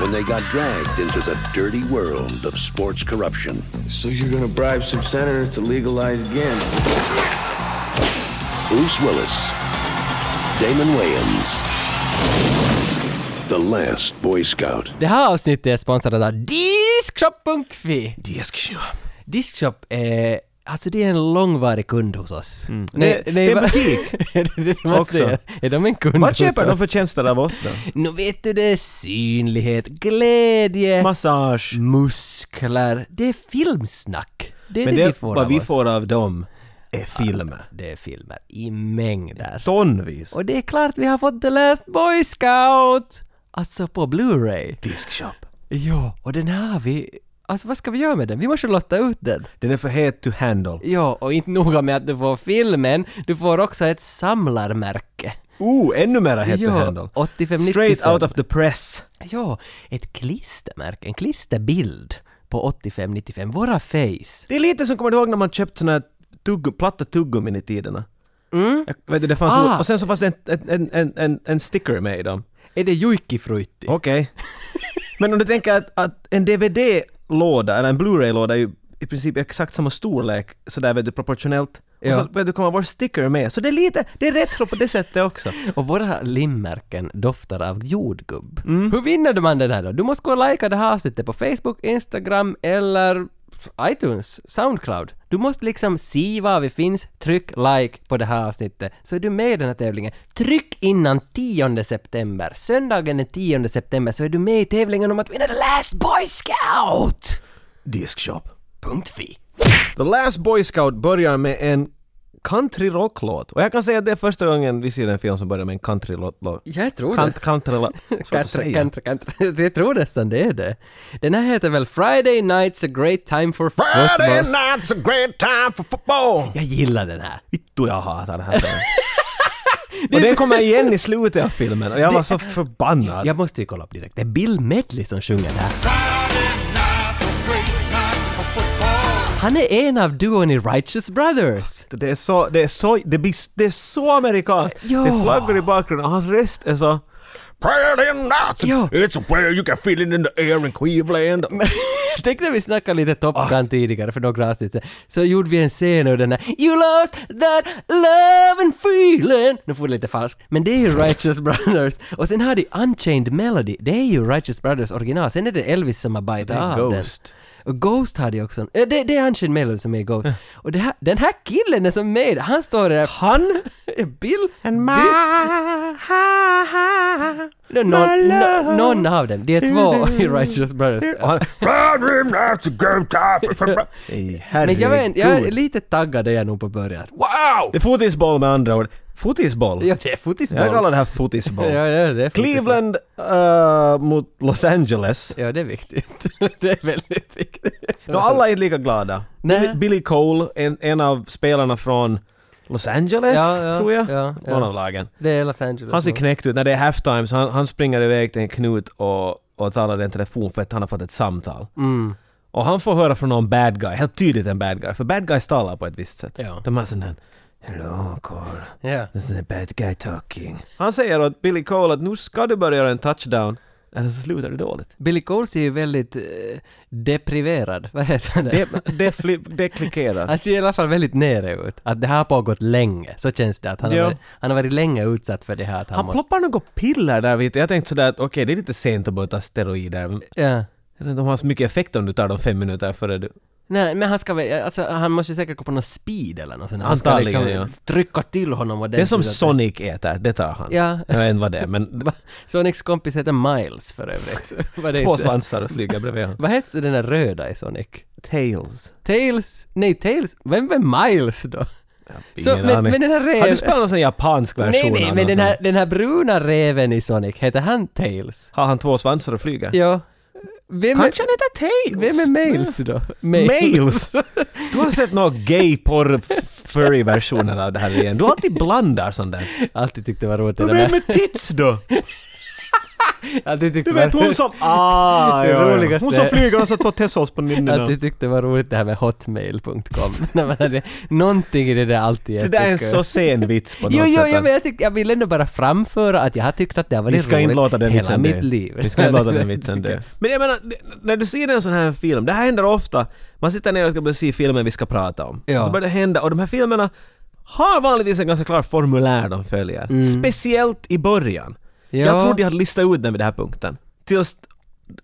S5: when they got dragged into the dirty world of sports corruption.
S6: So you're gonna bribe some senators to legalize again?
S5: Bruce Willis, Damon Wayans, the last Boy Scout.
S2: Det här avsnittet är sponsrat av Diskshop.fi. Diskshop är, alltså det är en långvarig kund hos oss.
S1: Mm. Det- det är
S2: va-
S1: butik.
S2: det är det man
S1: Också.
S2: säger. Är de en kund
S1: Vad
S2: hos
S1: köper de
S2: oss?
S1: för tjänster av oss då?
S2: Nu vet du, det är synlighet, glädje,
S1: Massage.
S2: muskler. Det är filmsnack. Det är
S1: Men
S2: det,
S1: det,
S2: vi får
S1: vad
S2: av
S1: vi
S2: oss.
S1: får av dem är filmer.
S2: Det är filmer i mängder.
S1: Tonvis.
S2: Och det är klart vi har fått The Last Boy Scout! Alltså på Blu-ray.
S1: Diskshop.
S2: Ja, och den här har vi... Alltså vad ska vi göra med den? Vi måste lotta ut den.
S1: Den är för het to handle.
S2: Ja, och inte noga med att du får filmen, du får också ett samlarmärke.
S1: Oh, ännu mera het to
S2: Ja,
S1: handle.
S2: 85,
S1: Straight
S2: 95.
S1: out of the press.
S2: Ja, ett klistermärke, en klisterbild på 85-95, våra face.
S1: Det är lite som, kommer du ihåg när man köpte såna här tugg, platta tuggummin i tiderna? Mm. Jag, vet du, det fanns
S2: Ah.
S1: nog- och sen så fanns det en, en, en, en, en sticker med i dem.
S2: Är det juikkifruitti?
S1: Okej. Men om du tänker att, att en DVD-låda eller en Blu-ray-låda är ju i princip exakt samma storlek sådär vet du proportionellt. Och
S2: Ja.
S1: så vet du kommer vår sticker med. Så det är lite, det är retro på det sättet också.
S2: Och våra limmärken doftar av jordgubb. Hur vinner man det här då? Du måste gå och likea det här avsnittet på Facebook, Instagram eller iTunes, Soundcloud. Du måste liksom se var vi finns, tryck like på det här avsnittet så är du med i den här tävlingen. Tryck innan 10 september, söndagen den 10 september så är du med i tävlingen om att vinna The Last Boy Scout!
S1: Diskshop.
S2: Punkt fi.
S1: The Last Boy Scout börjar med en country rocklåt. Och jag kan säga att det är första gången vi ser en film som börjar med en country låt.
S2: Jag tror
S1: Country, country låt. Svårt att
S2: Kanske,
S1: säga.
S2: kanske, kanske. Jag tror nästan det är det. Den här heter väl Friday Night's a Great Time for
S1: Friday
S2: Football.
S1: night's a great time for football!
S2: Jag gillar den här.
S1: Vittu jag hatar den här filmen. Och den kommer igen i slutet av filmen och jag var så förbannad.
S2: Jag måste ju kolla upp direkt. Det är Bill Medley som sjunger den här. Han är en av duon i Righteous Brothers.
S1: Det är så, det är så, det blir, det är så amerikanskt.
S2: Ja.
S1: Det är flaggor i bakgrunden och hans röst är så...
S2: Ja.
S1: It's a prayer you can feel it in the air in Cleveland.
S2: Tänk när vi snackade lite Top
S1: Ah.
S2: Gun tidigare för några avsnitt sedan. Så gjorde vi en scen ur den här You lost that love and feeling. Nu får det lite falskt. Men det är ju Righteous Brothers. Och sen har de Unchained Melody. Det är ju Righteous Brothers original. Sen är det Elvis som har bajtat
S1: är
S2: av
S1: Ghost.
S2: den. Och Ghost hade ju också en, äh, det, det är Unchained Melody som är Ghost. Och det här, den här killen är som med. Han står där.
S1: Han?
S2: Bill?
S1: And my...
S2: Bill- No, någon,
S1: love.
S2: no, någon av dem. Det är två i Righteous Brothers.
S1: Och han- Friday night's a great time for football. Nej,
S2: Men jag, vet, jag är
S1: herregud.
S2: lite taggad är jag nog på början. Wow!
S1: Det är fotisboll med andra ord. Fotisboll?
S2: Ja, det är fotisboll.
S1: Jag kallar det här fotisboll.
S2: Ja, ja, det är fotisboll.
S1: Cleveland eh, mot Los Angeles.
S2: Ja, det är viktigt. det är väldigt viktigt.
S1: Nå, alla är inte lika glada.
S2: Nej.
S1: Billy, Billy Cole, en, en av spelarna från Los Angeles,
S2: Ja, ja,
S1: tror jag.
S2: ja, ja.
S1: Någon av lagen.
S2: Det är Los Angeles.
S1: Han ser knäckt ut. När det är halftime så han, han springer iväg till en knut och, och talar i en telefon för att han har fått ett samtal.
S2: Mm.
S1: Och han får höra från någon bad guy, helt tydligt en bad guy, för bad guys talar på ett visst sätt.
S2: Ja.
S1: De har sån där ”Hello, Cole”.
S2: Ja.
S1: This is a bad guy talking. Han säger åt Billy Cole att nu ska du börja göra en touchdown, eller så slutar du dåligt.
S2: Billy Cole ser ju väldigt eh, depriverad. Vad heter det?
S1: Det, det, flip, det klickerar.
S2: Han ser i alla fall väldigt nere ut. Att det här har pågått länge. Så känns det att han,
S1: Ja.
S2: har, varit, han har varit länge utsatt för det här att han,
S1: Han
S2: måste...
S1: ploppar något piller där vet du. Jag tänkte sådär att okej, det är lite sent att börja ta steroider. men
S2: Ja.
S1: jag vet inte om De har så mycket effekt om du tar dem fem minuter före du...
S2: Nej, men han ska väl, alltså han måste ju säkert gå på någon speed eller något sånt. Han ska
S1: Antagligen,
S2: liksom
S1: ja.
S2: trycka till honom och
S1: Det är som Sonic äter, det tar han.
S2: Ja.
S1: Jag vet inte vad det är, men
S2: Sonics kompis heter Miles för övrigt. Vad det
S1: två
S2: heter.
S1: svansar och flyger bredvid honom.
S2: Vad hette den där röda i Sonic?
S1: Tails.
S2: Tails? Nej, Tails? Vem var Miles då? Så,
S1: Ingen
S2: men,
S1: aning.
S2: men den här
S1: Har du
S2: reven...
S1: spelat någon sån japansk version
S2: Nej, nej,
S1: av
S2: men
S1: någon
S2: den här,
S1: sån?
S2: den här bruna reven i Sonic, heter han Tails?
S1: Har han två svansar och flyger?
S2: Ja. Vem
S1: Kanske
S2: är,
S1: han heter Tails?
S2: Vem är Miles då? Miles.
S1: Mails! Du har sett några gay porr furry versioner av det här igen. Du alltid blandar sånt där.
S2: Alltid tyckte det var roligt det
S1: Men
S2: där.
S1: vem är Tits då?
S2: Alltid tyckte
S1: Du vet
S2: var-
S1: hon som... Ah,
S2: Det
S1: ja, ja.
S2: roligaste
S1: Hon som
S2: är-
S1: flyger och så tar tessos på
S2: Att
S1: nynnorna.
S2: jag tyckte det var roligt det här med hotmail.com. När man hade någonting i det där alltid
S1: Det där är en
S2: jätteskoj.
S1: så sen vits på något
S2: Jo, jo,
S1: sätt. alltså.
S2: jo, men jag, tyck, jag vill ändå bara framföra att jag har tyckt att det har varit
S1: Vi ska inte
S2: roligt
S1: låta den
S2: hela
S1: vitsen dö.
S2: mitt liv.
S1: Vi ska inte låta den vitsen dö. Men jag menar, det- när du ser en sån här film, det här händer ofta. Man sitter ner och ska börja se filmen vi ska prata om.
S2: Ja.
S1: Och så börjar det hända, och de här filmerna har vanligtvis en ganska klar formulär de följer. Speciellt i början.
S2: Mm. Ja.
S1: Jag trodde jag hade listat ut den vid den här punkten. Tills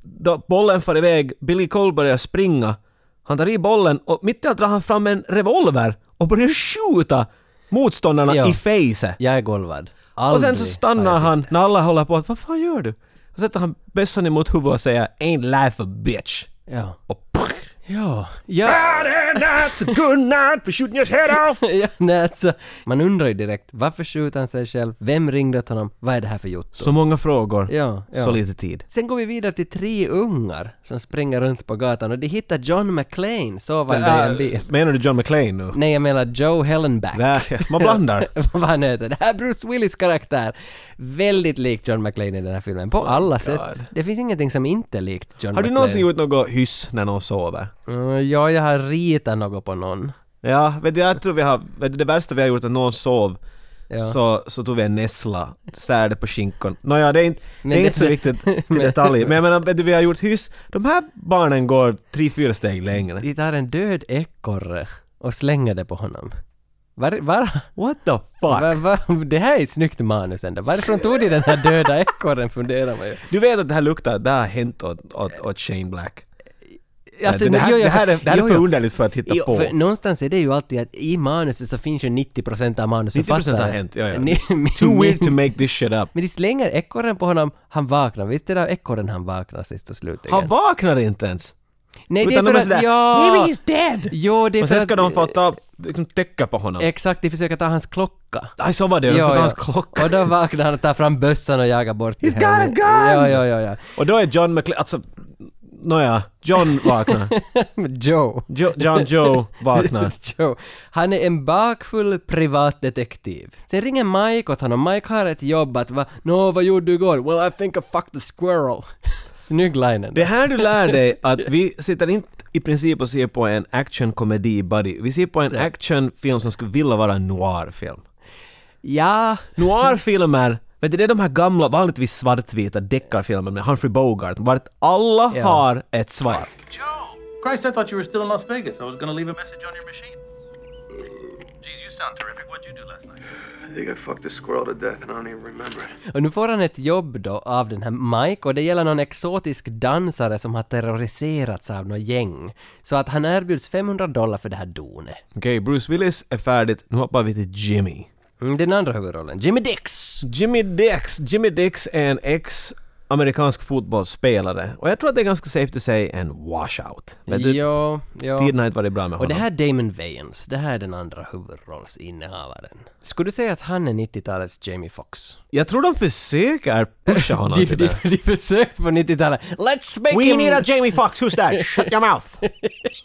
S1: då bollen far iväg, Billy Cole börjar springa. Han tar i bollen och mitt i allt drar han fram en revolver och börjar skjuta motståndarna
S2: Ja.
S1: i facet.
S2: Jag är golvad.
S1: Och
S2: Aldrig
S1: sen så
S2: har
S1: stannar
S2: jag
S1: han när alla håller på att vad fan gör du? Och sätter han bössan emot huvudet och säger “Ain't life a bitch”.
S2: sett- Ja.
S1: Och pff,
S2: Ja. Ja.
S1: "Friday night's a good night for shooting your head off!
S2: ja nej, alltså, man undrar ju direkt, varför skjuter han sig själv? Vem ringde åt honom? Vad är det här för jotto?
S1: Så många frågor,
S2: Ja, ja.
S1: så lite tid.
S2: Sen går vi vidare till tre ungar som springer runt på gatan och de hittar John McClane sovande i en bil.
S1: Äh, menar du John McClane nu?
S2: Nej, jag menar Joe Hellenback.
S1: Där, ja. man blandar.
S2: Vad han heter. Det här är Bruce Willis karaktär. Väldigt lik John McClane i den här filmen. På alla sätt. Det finns ingenting som inte är likt John
S1: Oh Har du
S2: McClane.
S1: någonsin gjort något hyss när någon sover?
S2: Mm, ja, jag har ritat något på någon.
S1: Ja, vet du, jag tror vi har, vet du, det värsta vi har gjort är att någon sov så, så tog vi en nässla, särde på skinkon. Nåja, det är inte, det
S2: Men
S1: är
S2: det-
S1: inte så
S2: det-
S1: viktigt i
S2: men-
S1: detalj. Men jag menar, vet du, vi har gjort hyss. De här barnen går tre, fyra steg längre.
S2: De tar en död ekorre och slänger det på honom. Var, var,
S1: What the fuck?
S2: var, var, det här är ett snyggt manus ändå. Varifrån tog de den här döda ekorren funderar man ju.
S1: Du vet att det här luktar, det här har hänt åt, åt, åt Shane Black.
S2: Alltså,
S1: det, här,
S2: jo, jo,
S1: det här är, det här
S2: jo,
S1: är för
S2: jo.
S1: underligt för att hitta
S2: Jo,
S1: på.
S2: för någonstans är det ju alltid att i manuset så finns ju 90% av manusförfattaren.
S1: 90% har hänt, ja, ja.
S2: Ni-
S1: Too weird to make this shit up.
S2: Men de slänger ekorren på honom, han vaknar. Visst är det av ekorren han vaknar sist och slutligen?
S1: Han vaknar inte ens.
S2: Nej, det är
S1: Utan de
S2: för
S1: är
S2: att...
S1: sådär,
S2: Ja!
S1: Maybe he's dead!
S2: Jo, det är
S1: Och
S2: för
S1: sen ska
S2: att, Eh,
S1: de få ta, liksom täcka på honom.
S2: Exakt, de försöker ta hans klocka.
S1: Aj, så var det, de ska ta hans klocka.
S2: Och då vaknar han och tar fram bössan och jagar bort
S1: He's
S2: det
S1: got a
S2: här.
S1: gun!
S2: Ja, ja, ja, ja.
S1: Och då är John McLean, alltså, nåja, John vaknar.
S2: Joe.
S1: Jo, John Joe vaknar.
S2: Joe. Han är en bakfull privatdetektiv. Sen ringer Mike åt honom. Mike har ett jobb att va, Nå, vad gjorde du igår? Well, I think I fucked the squirrel. Snygg linen.
S1: Det är här du lär dig att vi sitter inte i princip och ser på en actionkomedi buddy. Vi ser på en actionfilm som skulle vilja vara en noirfilm.
S2: Ja.
S1: Noirfilmer, vet du, det är de här gamla, vanligtvis svartvita deckarfilmerna med Humphrey Bogart, vart alla
S2: Ja.
S1: har ett svar.
S7: Joe! Christ, I thought you were still in Las Vegas. I was going to leave a message on your machine. Geez, you sound terrific. What'd you do last night?
S6: I think I fucked a squirrel to death and I don't even remember it.
S2: Och nu får han ett jobb då av den här Mike och det gäller någon exotisk dansare som har terroriserats av något gäng. Så att han erbjuds 500 dollar för det här donet.
S1: Okej, Bruce Willis är färdigt, nu hoppar vi till Jimmy.
S2: Mm, den andra huvudrollen, Jimmy Dix!
S1: Jimmy Dix, Jimmy Dix är en ex amerikansk fotbollsspelare och jag tror att det är ganska safe to say en washout. Vet du,
S2: Jo, jo.
S1: tiden har inte varit bra med honom.
S2: Och det här är Damon Wayans, det här är den andra huvudrollsinnehavaren. Skulle du säga att han är 90-talets Jamie Foxx?
S1: Jag tror de försöker pusha honom
S2: De,
S1: till
S2: de,
S1: det.
S2: de försökte på 90-talet. Let's make
S1: We
S2: him...
S1: need a Jamie Foxx, who's that? Shut your mouth!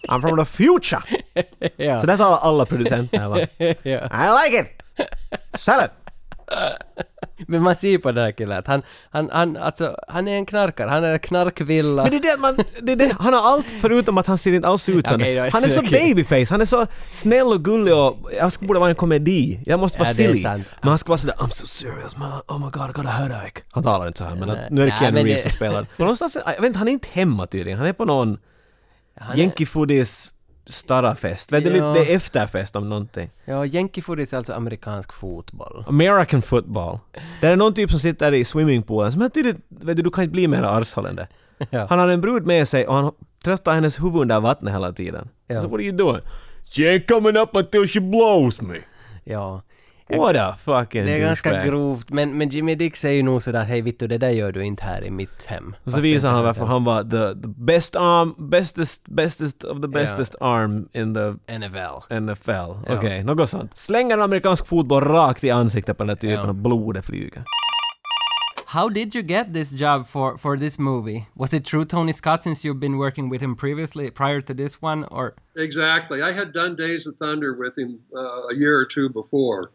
S1: I'm from the future!
S2: Ja.
S1: Så det talar alla producenter här, va?
S2: Ja.
S1: I like it! Sell it!
S2: Men man ser på den här killen att han, han, han, alltså, han är en knarkare, han är en knarkvilla.
S1: Men det är det att man, det är det, han har allt förutom att han ser inte alls ut som
S2: Okej,
S1: det.
S2: då-
S1: Han är så
S2: okej.
S1: babyface, han är så snäll och gullig och jag ska borde vara en komedi. Jag måste vara
S2: Ja, det är
S1: silly. Men
S2: sant.
S1: han ska vara sådär I'm so serious man, oh my god I got a headache. Han talar inte så här men att,
S2: Nej.
S1: nu är det
S2: Nej,
S1: Keanu
S2: men det-
S1: Reeves som spelar. Och någonstans, jag vet inte, han är inte hemma tydligen, han är på någon Jenkifoodis starrafest. Vet du,
S2: Ja.
S1: lite- det är efterfest om någonting.
S2: Ja, Yankeefootis är alltså amerikansk fotboll.
S1: American football. Där är någon typ som sitter i swimmingpoolen som är tydligt, vet du, du kan inte bli mer arshåll än det.
S2: Ja.
S1: Han har en brud med sig och han tröstar hennes huvud under vattnet hela tiden.
S2: Ja.
S1: So what are you doing? She ain't coming up until she blows me.
S2: Ja.
S1: What a fucking
S2: Det är ganska
S1: douchebag.
S2: grovt, men, men Jimmy Dix är ju nog sådär hej Vittu, det där gör du inte här i mitt hem.
S1: Och så
S2: Fast
S1: visar
S2: det-
S1: han varför
S2: alltså.
S1: han var the, the best arm, bestest, bestest of the bestest arm in the
S2: NFL.
S1: NFL. Okej, något sånt. Slänger en amerikansk fotboll rakt i ansiktet på den där typen
S2: Ja.
S1: och blodet flyger.
S2: How did you get this job for, for this movie? Was it true Tony Scott since you've been working with him previously, prior to this one, or?
S4: Exactly. I had done Days of Thunder with him uh, a year or two before,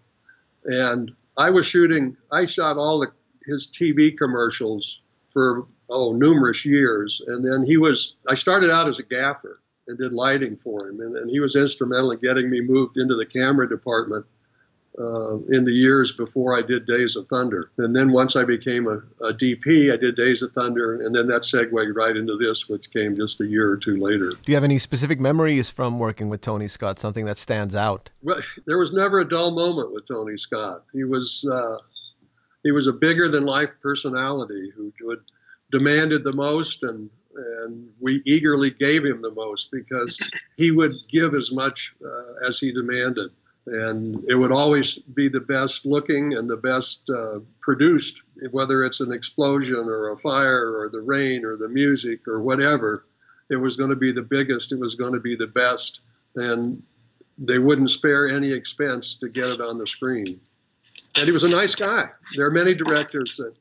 S4: and I was shooting. I shot all the, his TV commercials for oh numerous years, and then he was. I started out as a gaffer and did lighting for him, and, and he was instrumental in getting me moved into the camera department. Uh, in the years before I did Days of Thunder. And then once I became a, a DP, I did Days of Thunder, and then that segued right into this, which came just a year or two later.
S1: Do you have any specific memories from working with Tony Scott? Something that stands out?
S4: Well, there was never a dull moment with Tony Scott. He was uh, he was a bigger than life personality who would demanded the most, and and we eagerly gave him the most because he would give as much uh, as he demanded, and it would always be the best looking and the best uh, produced, whether it's an explosion or a fire or the rain or the music or whatever. It was going to be the biggest. It was going to be the best. And they wouldn't spare any expense to get it on the screen. And he was a nice guy. There are many directors that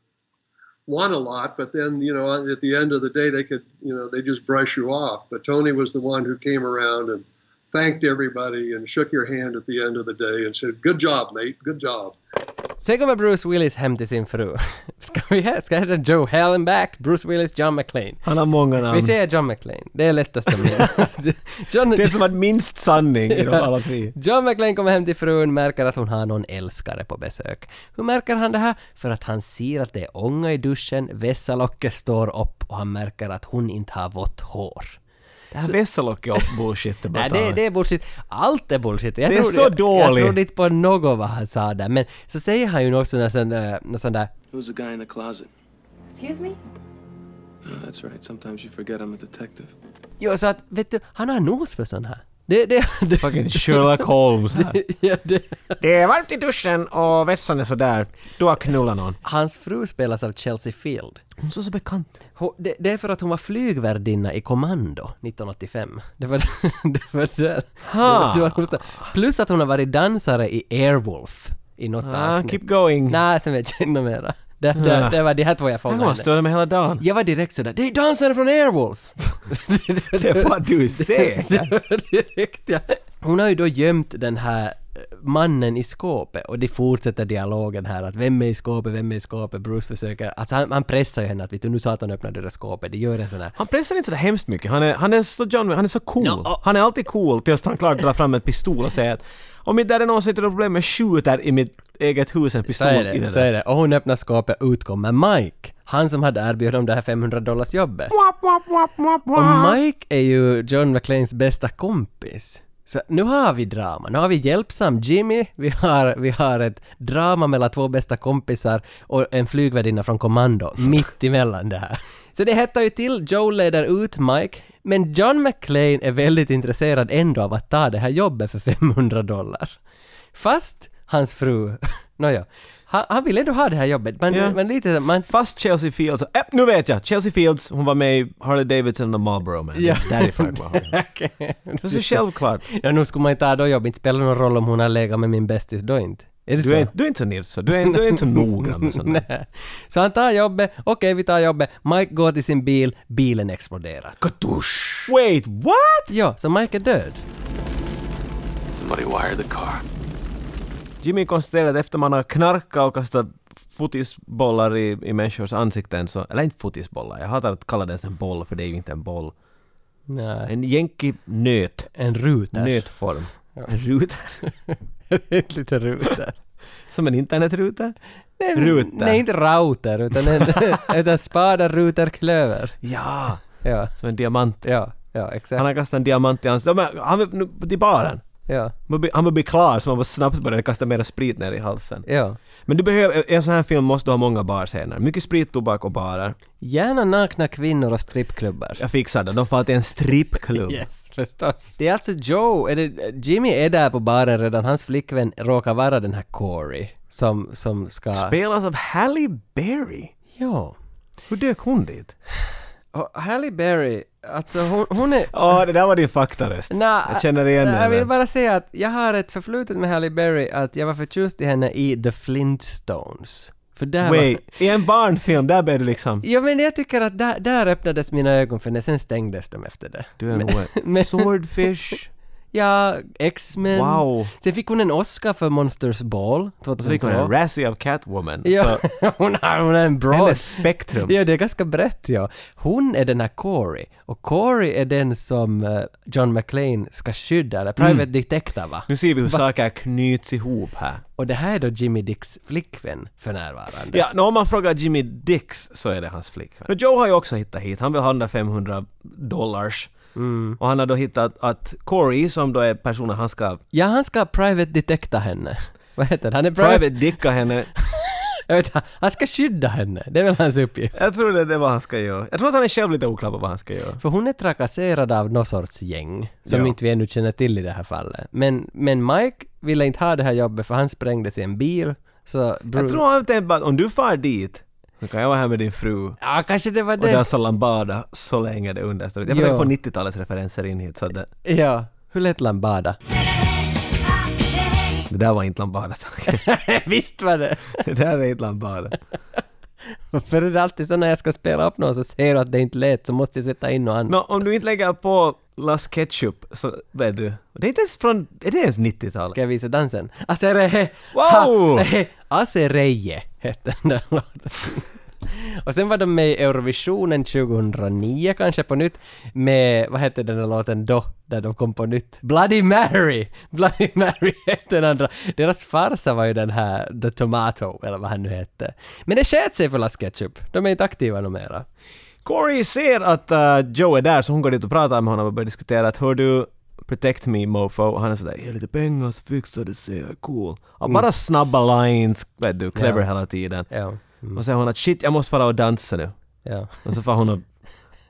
S4: want a lot, but then, you know, at the end of the day, they could, you know, they just brush you off. But Tony was the one who came around and thanked everybody and shook your hand at the end of the day and said, "Good job, mate. Good job."
S2: Sen kommer Bruce Willis hem till sin fru. Ska vi hä- ska heta Joe Hallenback, Bruce Willis, John McClane?
S1: Han har många namn.
S2: Vi säger John McClane, det är lättast att minnas. John,
S1: Um, Det som var minst sanning i de
S2: Ja.
S1: alla tre.
S2: John McClane kommer hem till frun, märker att hon har någon älskare på besök. Hur märker han det här? För att han ser att det är ånga i duschen, vässa locket står upp och han märker att hon inte har vått hår.
S1: Det här Vesalock är upp bullshit det bara
S2: Nej, det,
S1: tar.
S2: det är bullshit. Allt är bullshit. Jag
S1: Det är
S2: tror-
S1: så
S2: jag, Jag
S1: dåligt.
S2: trodde inte på något vad han sa där, men så säger han ju något sånt där, sån där, något sånt där
S6: Who's the guy in the closet?
S8: Excuse me?
S6: Oh, that's right. Sometimes you forget I'm a detective.
S2: Jo, så att, vet du, han har nos för sån här. Det, det, det,
S1: Fucking Sherlock Holmes här.
S2: ja, det.
S1: Det är varmt i duschen och vässan är sådär. Du har knullat någon.
S2: Hans fru spelas av Chelsea Field.
S1: Hon så så bekant.
S2: Hon, det, det är för att hon var flygvärdinna i Kommando 1985. Det var, det var där.
S1: Ha.
S2: Det var, det var där. Plus att hon har varit dansare i Airwolf i något
S1: Ah,
S2: avsnitt.
S1: keep going.
S2: Nej, sen vet jag inte mera. Det, det,
S1: Ah.
S2: det var de här två jag
S1: Jag
S2: fångade.
S1: kommer att störa mig hela dagen.
S2: Jag var direkt sådär, det är dansaren från Airwolf!
S1: Det var du säker.
S2: Det var direkt ja. Hon har ju då gömt den här eh, mannen i skåpet och de fortsätter dialogen här att vem är i skåpet, vem är i skåpet, Bruce försöker, alltså han, han pressar ju henne att vet du nu satan öppnar det där skåpet, det gör en sån här
S1: Han pressar inte sådär hemskt mycket. Han är, han är så John, han är så cool.
S2: Ja.
S1: Han är alltid cool tills han klart drar fram en pistol och säger att om inte det är någon som inte har problem med skjuter i mitt eget hus en
S2: Så
S1: pistol
S2: är
S1: i
S2: det,
S1: det
S2: så
S1: där.
S2: är det. Och hon öppnar skåpet, utkommer Mike. Han som hade erbjudit om det här 500 dollars jobbet. Och Mike är ju John McClanes bästa kompis. Så nu har vi drama. Nu har vi hjälpsam Jimmy, vi har, vi har ett drama mellan två bästa kompisar och en flygvärdinna från Kommando mitt emellan det här. Så det hettar ju till, Joe leder ut Mike, men John McClane är väldigt intresserad ändå av att ta det här jobbet för 500 dollar. Fast hans fru, nåja, han, han vill ändå ha det här jobbet, men,
S1: Ja.
S2: men lite så- man...
S1: Fast Chelsea Fields, äh, nu vet jag! Chelsea Fields, hon var med i Harley Davidson och Marlboro Man.
S2: Ja.
S1: Därifrån kommer jag ihåg henne. Det var så självklart.
S2: ja, nu skulle man inte ha då jobb, inte spelar det någon roll om hon har legat med min bästis då inte. Är det
S1: Du
S2: så?
S1: är, inte- du är inte så nils, så. du är, du är inte så noggrann med sånt där.
S2: Nej. Så han tar jobbet, okej vi tar jobbet, Mike går till sin bil, bilen exploderar.
S1: Wait, what?
S2: Ja, så Mike är död.
S6: Somebody wired the car.
S1: Jimmy konstaterade att efter man har knarkat och kastat fotisbollar i, i människors ansikten så... Eller inte fotisbollar, jag hatar att kalla det ens en boll för det är ju inte en boll.
S2: Nej,
S1: En jänkig nöt.
S2: en ruter.
S1: Nötform. En ruter.
S2: Lite ruter.
S1: Som en internetruter.
S2: Nej, men-
S1: Ruter.
S2: Nej, inte router, utan, en, utan spada, ruter, klöver.
S1: Ja!
S2: Ja,
S1: Som en diamant.
S2: ja, ja, exakt.
S1: Han har kastat en diamant i ansiktet. Men Han vill nu till baren.
S2: Ja,
S1: Man blir- Han bör bli klar så man bara snabbt börjar kasta mera sprit ner i halsen.
S2: ja.
S1: Men du behöver, en sån här film måste ha många barscener. Mycket sprit, tobak och barer.
S2: Gärna nakna kvinnor och strippklubbar.
S1: Jag fixar det, de får till en strippklubb.
S2: Yes, förstås. Det är alltså Joe, är det, Jimmy är där på baren redan, hans flickvän råkar vara den här Corey som, som ska...
S1: Spelas av Halle Berry.
S2: ja.
S1: Hur dök hon dit?
S2: Och Halle Berry, alltså hon, hon är...
S1: Ja, det där var din faktaröst.
S2: Nä,
S1: jag känner igen
S2: nä, Jag vill
S1: henne.
S2: bara säga att jag har ett förflutet med Halle Berry, att jag var förtjust i henne i The Flintstones. För där
S1: Wait,
S2: var...
S1: i en barnfilm, där blev du liksom...
S2: Ja men jag tycker att där, där öppnades mina ögon för henne, sen stängdes de efter det.
S1: Du är nog
S2: men-
S1: en Swordfish.
S2: Ja, X-Men.
S1: Wow.
S2: Sen fick hon en Oscar för Monsters Ball
S1: Och så fick hon
S2: 2002.
S1: en Razzie av Catwoman.
S2: Ja,
S1: Så
S2: hon, har, hon har en bra...
S1: hennes spektrum.
S2: Ja, det är ganska brett ja. Hon är den här Corey. Och Corey är den som eh, John McClane ska skydda, eller
S1: Mm.
S2: Private Detective va?
S1: Nu ser vi hur saker knyts ihop här.
S2: Och det här är då Jimmy Dicks flickvän för närvarande.
S1: Ja, nå, om man frågar Jimmy Dix så är det hans flickvän. Och Joe har ju också hittat hit, han vill ha den där 500 dollars.
S2: Mm.
S1: Och han har då hittat att Corey, som då är personen han ska
S2: Ja, han ska private detecta henne. Vad heter det? Han är private...
S1: private dicka henne.
S2: Jag vet, inte, han ska skydda henne. Det är väl hans uppgift.
S1: Jag tror det, det är vad han ska göra. Jag tror att han är själv lite oklar på vad han ska göra.
S2: För hon är trakasserad av någon sorts gäng, som
S1: Ja.
S2: inte vi ännu känner till i det här fallet. Men, men Mike ville inte ha det här jobbet för han sprängdes i en bil. Så Bruce...
S1: Jag tror han tänkte bara att om du far dit så kan jag vara här med din fru
S2: Ja, kanske det var
S1: och
S2: det.
S1: dansa lambada så länge det understår. Jag
S2: Ja.
S1: försöker få 90-talets referenser in hit så att det,
S2: Ja, hur lät Lambada?
S1: det där var inte lambada tack.
S2: Visst var det!
S1: Det där är inte lambada.
S2: För det är alltid så när jag ska spela upp någon så ser du att det inte lät så måste jag sätta in något annat.
S1: Nå, om du inte lägger på Las Ketchup, så vet du. Det är inte ens från... Är det ens 90-talet?
S2: Ska jag visa dansen? Asereje!
S1: Wow!
S2: Asereje hette den där låten. Och sen var de med i Eurovisionen 2009 kanske på nytt med, vad hette den där låten då, där de kom på nytt? Bloody Mary! Bloody Mary hette den andra. Deras farsa var ju den här The Tomato, eller vad han nu hette. Men det sket sig för Las Ketchup. De är inte aktiva numera.
S1: Corey ser att eh, Joe är där så hon går dit och pratar med honom och börjar diskutera att hör du Protect me mofo. Och Han är sådär ge lite pengar så fixar det sig, cool. Och bara snabba lines, vet du, clever
S2: Mm. Ja.
S1: hela tiden.
S2: Ja. Mm,
S1: Och säger hon att shit jag måste fara och dansa nu.
S2: ja.
S1: Och så får hon och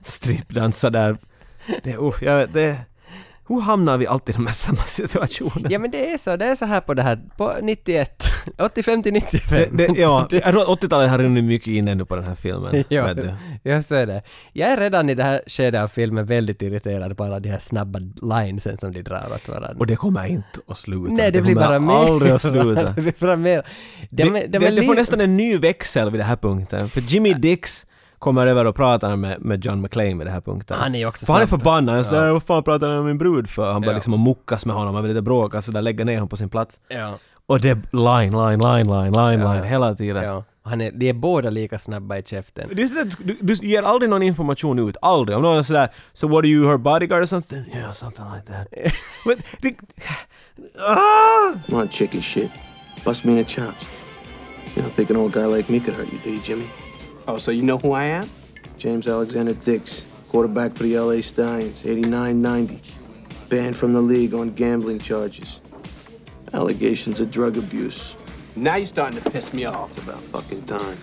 S1: strippdansa där. Det, uh, jag, det, hur hamnar vi alltid i de här samma situationerna?
S2: Ja men det är så, det är så här på det här, på 91, 85 till 95.
S1: Det, det, ja, jag tror att 80-talet har runnit mycket in ännu på den här filmen.
S2: Ja,
S1: vet du.
S2: jag ser det. Jag är redan i det här skedet av filmen väldigt irriterad på alla de här snabba linesen som de drar åt varandra.
S1: Och det kommer inte att sluta.
S2: Nej, det blir
S1: kommer
S2: bara mer.
S1: aldrig att sluta.
S2: det blir bara mer.
S1: Det,
S2: De, är-
S1: det,
S2: de
S1: det,
S2: är li-
S1: får nästan en ny växel vid den här punkten. För Jimmy Dix kommer över och pratar med, med John McClane vid den här punkten.
S2: Han är ju också
S1: för han är
S2: snabb.
S1: förbannad. Han säger vad fan pratar han med min brud för? Han börjar
S2: Ja.
S1: liksom att muckas med honom. Han vill inte bråka så där lägger ner honom på sin plats.
S2: Ja,
S1: Och det är line, line, line, line, line, line hela tiden.
S2: ja. Han är, de är båda lika snabba i käften.
S1: Det är sådär att Du, du ger aldrig någon information ut, aldrig. Om någon är sådär “So what are you, her bodyguard?” or something? Yeah, something like that. Men det... Ah!
S6: I'm on chicken shit. Bust me in the chops. You don't think an old guy like me could hurt you, do you, Jimmy? Oh, so you know who I am? James Alexander Dix, quarterback for the LA Stallions, 89 90. Banned from the league on gambling charges. Allegations of drug abuse. Now you're starting to piss me off. It's about fucking time.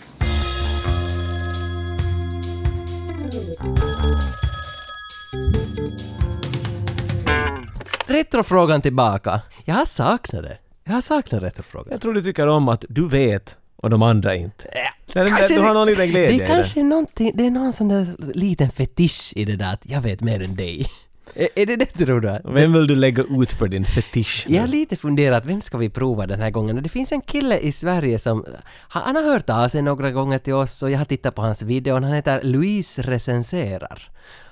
S2: Retrofrågan tillbaka. Jag har saknat det. Jag har saknat retrofrågan.
S1: Jag tror du tycker om att du vet och de andra inte. Nej, men
S2: Kanske
S1: du har någon liten glädje i
S2: Det
S1: det.
S2: är kanske någonting, det är någon sån där liten fetisch i det där att jag vet mer än dig. Är, är det det tror du?
S1: Vem vill du lägga ut för din fetisch?
S2: Jag har lite funderat, vem ska vi prova den här gången? Och det finns en kille i Sverige som, han har hört av sig några gånger till oss och jag har tittat på hans video, han heter Louise Recenserar.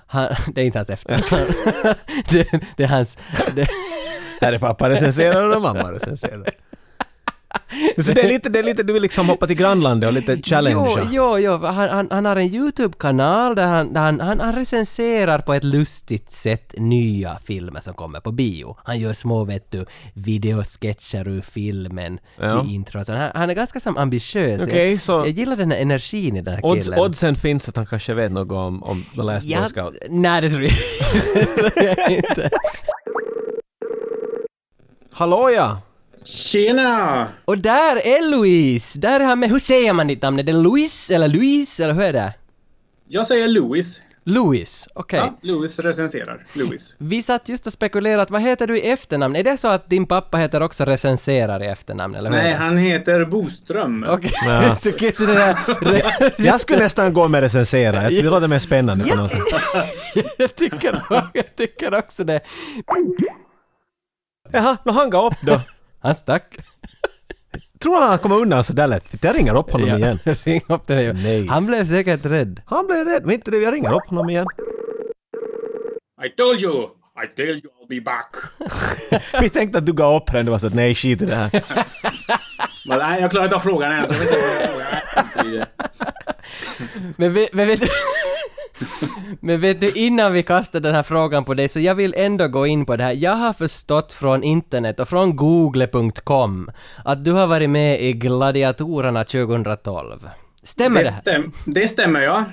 S2: Han, det är inte hans efternamn. det, det är hans... Det,
S1: Här är pappa recenserar och mamma recenserar. Så det är lite, det är lite, du vill liksom hoppa till grannlandet och lite
S2: jo,
S1: challenge.
S2: jo, jo. Han, han, han har en YouTube-kanal där, han, där han, han, han recenserar på ett lustigt sätt nya filmer som kommer på bio. Han gör små, vet du, videosketcher ur filmen
S1: Ja.
S2: till intro. Så han, han är ganska som ambitiös.
S1: Okej,
S2: jag,
S1: så-
S2: jag gillar den här energin i den här
S1: Odds,
S2: killen.
S1: oddsen finns att han kanske vet något om, om The Last Boy
S2: Ja,
S1: Scout.
S2: nej, det tror jag, det tror jag inte.
S1: Hallå ja!
S8: Tjena!
S2: Och där är Louise! Där är han med. Hur säger man ditt namn? Är det Louise eller Louise eller hur är det?
S8: Jag säger Louis.
S2: Louise, okej.
S8: Ja, Louis recenserar. Louis.
S2: Vi satt just och spekulerat, vad heter du i efternamn? Är det så att din pappa heter också recenserar i efternamn, eller hur?
S8: Nej, han heter Boström.
S2: Okej, så, okej, så det där...
S1: Jag skulle nästan gå med recensera, Jag- det låter mer spännande på något sätt.
S2: jag, tycker, jag tycker också det.
S1: Jaha, nu han gav upp då.
S2: Han stack.
S1: Tror han kommer undan sådär lätt? Jag ringer upp honom
S2: Ja,
S1: igen.
S2: Ring upp den igen.
S1: Nice.
S2: Han blev säkert rädd.
S1: Han blev rädd, men inte det, jag ringer upp honom igen.
S8: I told you! I told you I'll be back.
S1: Vi tänkte att du gav upp den, du var så att nej skit i det här.
S8: Men, nej, jag klarar inte av frågan än. Så jag vet inte vad jag frågar. Jag skiter i det.
S2: Men vet, men, vet, men vet du, innan vi kastar den här frågan på dig, så jag vill ändå gå in på det här. Jag har förstått från internet och från google.com att du har varit med i Gladiatorerna 2012. Stämmer det
S8: det,
S2: här? Eh,
S8: stäm, det stämmer, ja.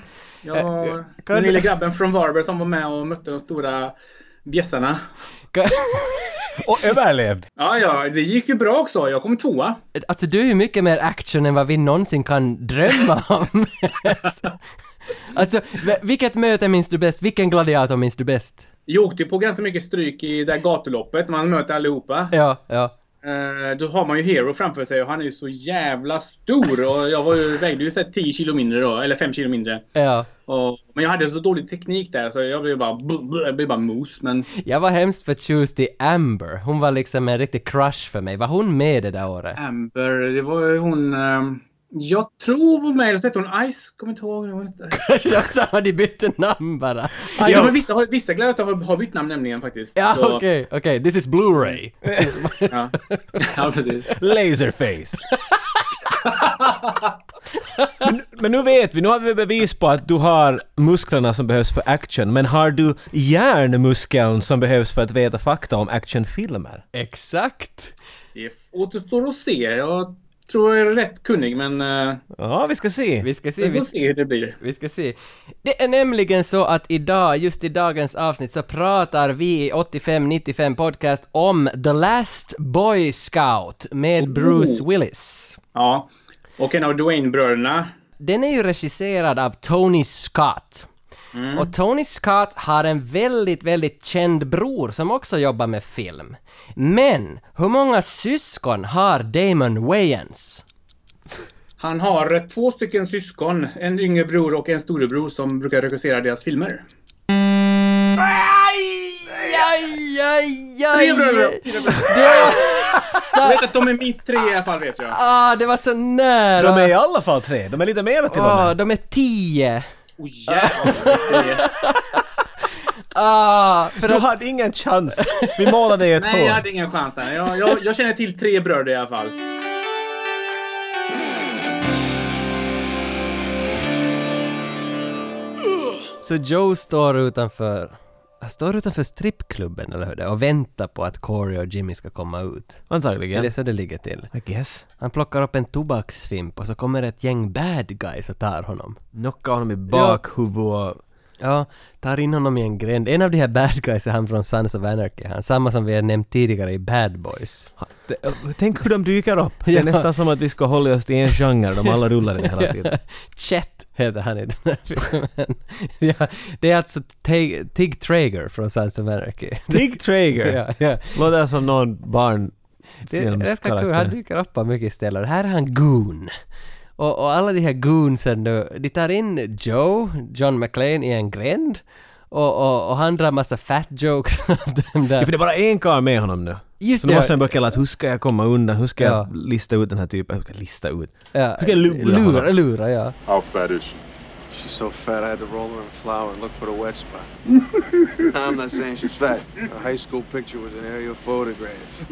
S8: Jag var
S2: kan
S8: den
S2: du-
S8: lilla grabben från Varberg som var med och mötte de stora bjässarna.
S1: Och överlevde.
S8: Ja, ja, det gick ju bra också. Jag kom tvåa.
S2: Alltså du är ju mycket mer action än vad vi någonsin kan drömma om. alltså, alltså, v- vilket möte minns du bäst? Vilken gladiator minns du bäst?
S8: Jag åkte på ganska mycket stryk i det där gatuloppet. Man möter allihopa.
S2: Ja, ja.
S8: Eh, då har man ju Hero framför sig och han är ju så jävla stor. Och jag var ju, vägde ju så här 10 kilo mindre då, eller 5 kilo mindre.
S2: Ja.
S8: Och, men jag hade så dålig teknik där så jag blev bara, jag blev bara mos. Men
S2: Jag var hemskt förtjust i Amber. Hon var liksom en riktig crush för mig. Var hon med det där året?
S8: Amber, det var ju hon... ehm, Jag tror hon var med, eller så hette hon Ice. Kommer inte ihåg. det var inte-
S2: Kanske också har de bytt namn bara.
S8: Ja, men vissa, har- vissa gladiatorer har- har bytt namn nämligen faktiskt.
S2: Ja,
S8: Så-
S2: okej, okej. This is Blu-ray.
S8: Ja. ja, precis.
S1: Laserface. men, men nu vet vi, nu har vi bevis på att du har musklerna som behövs för action, men har du hjärnmuskeln som behövs för att veta fakta om actionfilmer?
S2: Exakt.
S8: Det återstår att se. Jag tror jag är rätt kunnig, men eh,
S1: Ja, vi ska se.
S2: Vi ska se.
S8: vi
S2: Vi
S8: får se hur det blir.
S2: Vi ska se. Det är nämligen så att idag, just i dagens avsnitt, så pratar vi i 85-95 podcast om The Last Boy Scout med Bruce Willis.
S8: Ja. Och en av Dwayne-bröderna.
S2: Den är ju regisserad av Tony Scott. Och Tony Scott har en väldigt, väldigt känd bror som också jobbar med film. Men, hur många syskon har Damon Wayans?
S8: Han har eh, två stycken syskon. En yngre bror och en storebror som brukar regissera deras filmer.
S2: Aj, aj, aj,
S8: Tre bröder! Fyra bröder.
S2: Det var
S8: Jag
S2: så...
S8: vet att de är minst tre i alla fall, vet jag.
S2: Ah, det var så nära!
S1: De är i alla fall tre, de är lite mera till och
S2: Ah,
S1: med.
S2: de är tio!
S8: Oh, jävlar.
S2: Ah, för
S1: Du
S2: att...
S1: hade ingen chans. Vi målade dig i ett
S8: Nej, jag hade
S1: hål.
S8: ingen chans där. Jag, jag, jag känner till tre bröder i alla fall.
S2: Så Joe står utanför... Han står utanför strippklubben, eller hur det är, och väntar på att Corey och Jimmy ska komma ut. Är
S1: Antagligen.
S2: det så det ligger till?
S1: I guess.
S2: Han plockar upp en tobaksfimp och så kommer ett gäng bad guys och tar honom.
S1: Knocka honom i bakhuvudet.
S2: Ja, tar in honom i en gränd. En av de här bad guys är han från Sons of Anarchy. Han samma som vi har nämnt tidigare i Bad Boys.
S1: Det- Tänk hur de dyker upp. Det är
S2: Ja.
S1: nästan som att vi ska hålla oss till en genre, de alla rullar den hela tiden.
S2: Chet heter han i den här filmen. ja, det är alltså Te- Tig Traeger från Sons of Anarchy.
S1: Tig Traeger.
S2: ja, ja.
S1: Låter som någon
S2: Det är ganska kul, han
S1: barnfilmskaraktär.
S2: dyker upp på mycket ställen. Här är han Goon. Och, och alla de här Goonsen nu, de tar in Joe, John McClane, i en gränd. Och, och, och han drar massa fat jokes av dem där.
S1: Ja, för det är bara en karl med honom nu.
S2: Just
S1: så nu
S2: det,
S1: måste
S2: ja.
S1: han börja kalla att hur ska jag komma undan, hur ska
S2: Ja.
S1: jag lista ut den här typen, hur ska jag lista ut?
S2: Ja,
S1: Hur ska jag lura
S2: lura,
S1: honom?
S2: lura, ja.
S9: How fat is she?
S6: She's so fat I had to roll her in flour and look for the wet spot. I'm not saying she's fat. Her high school picture was an aerial photograph.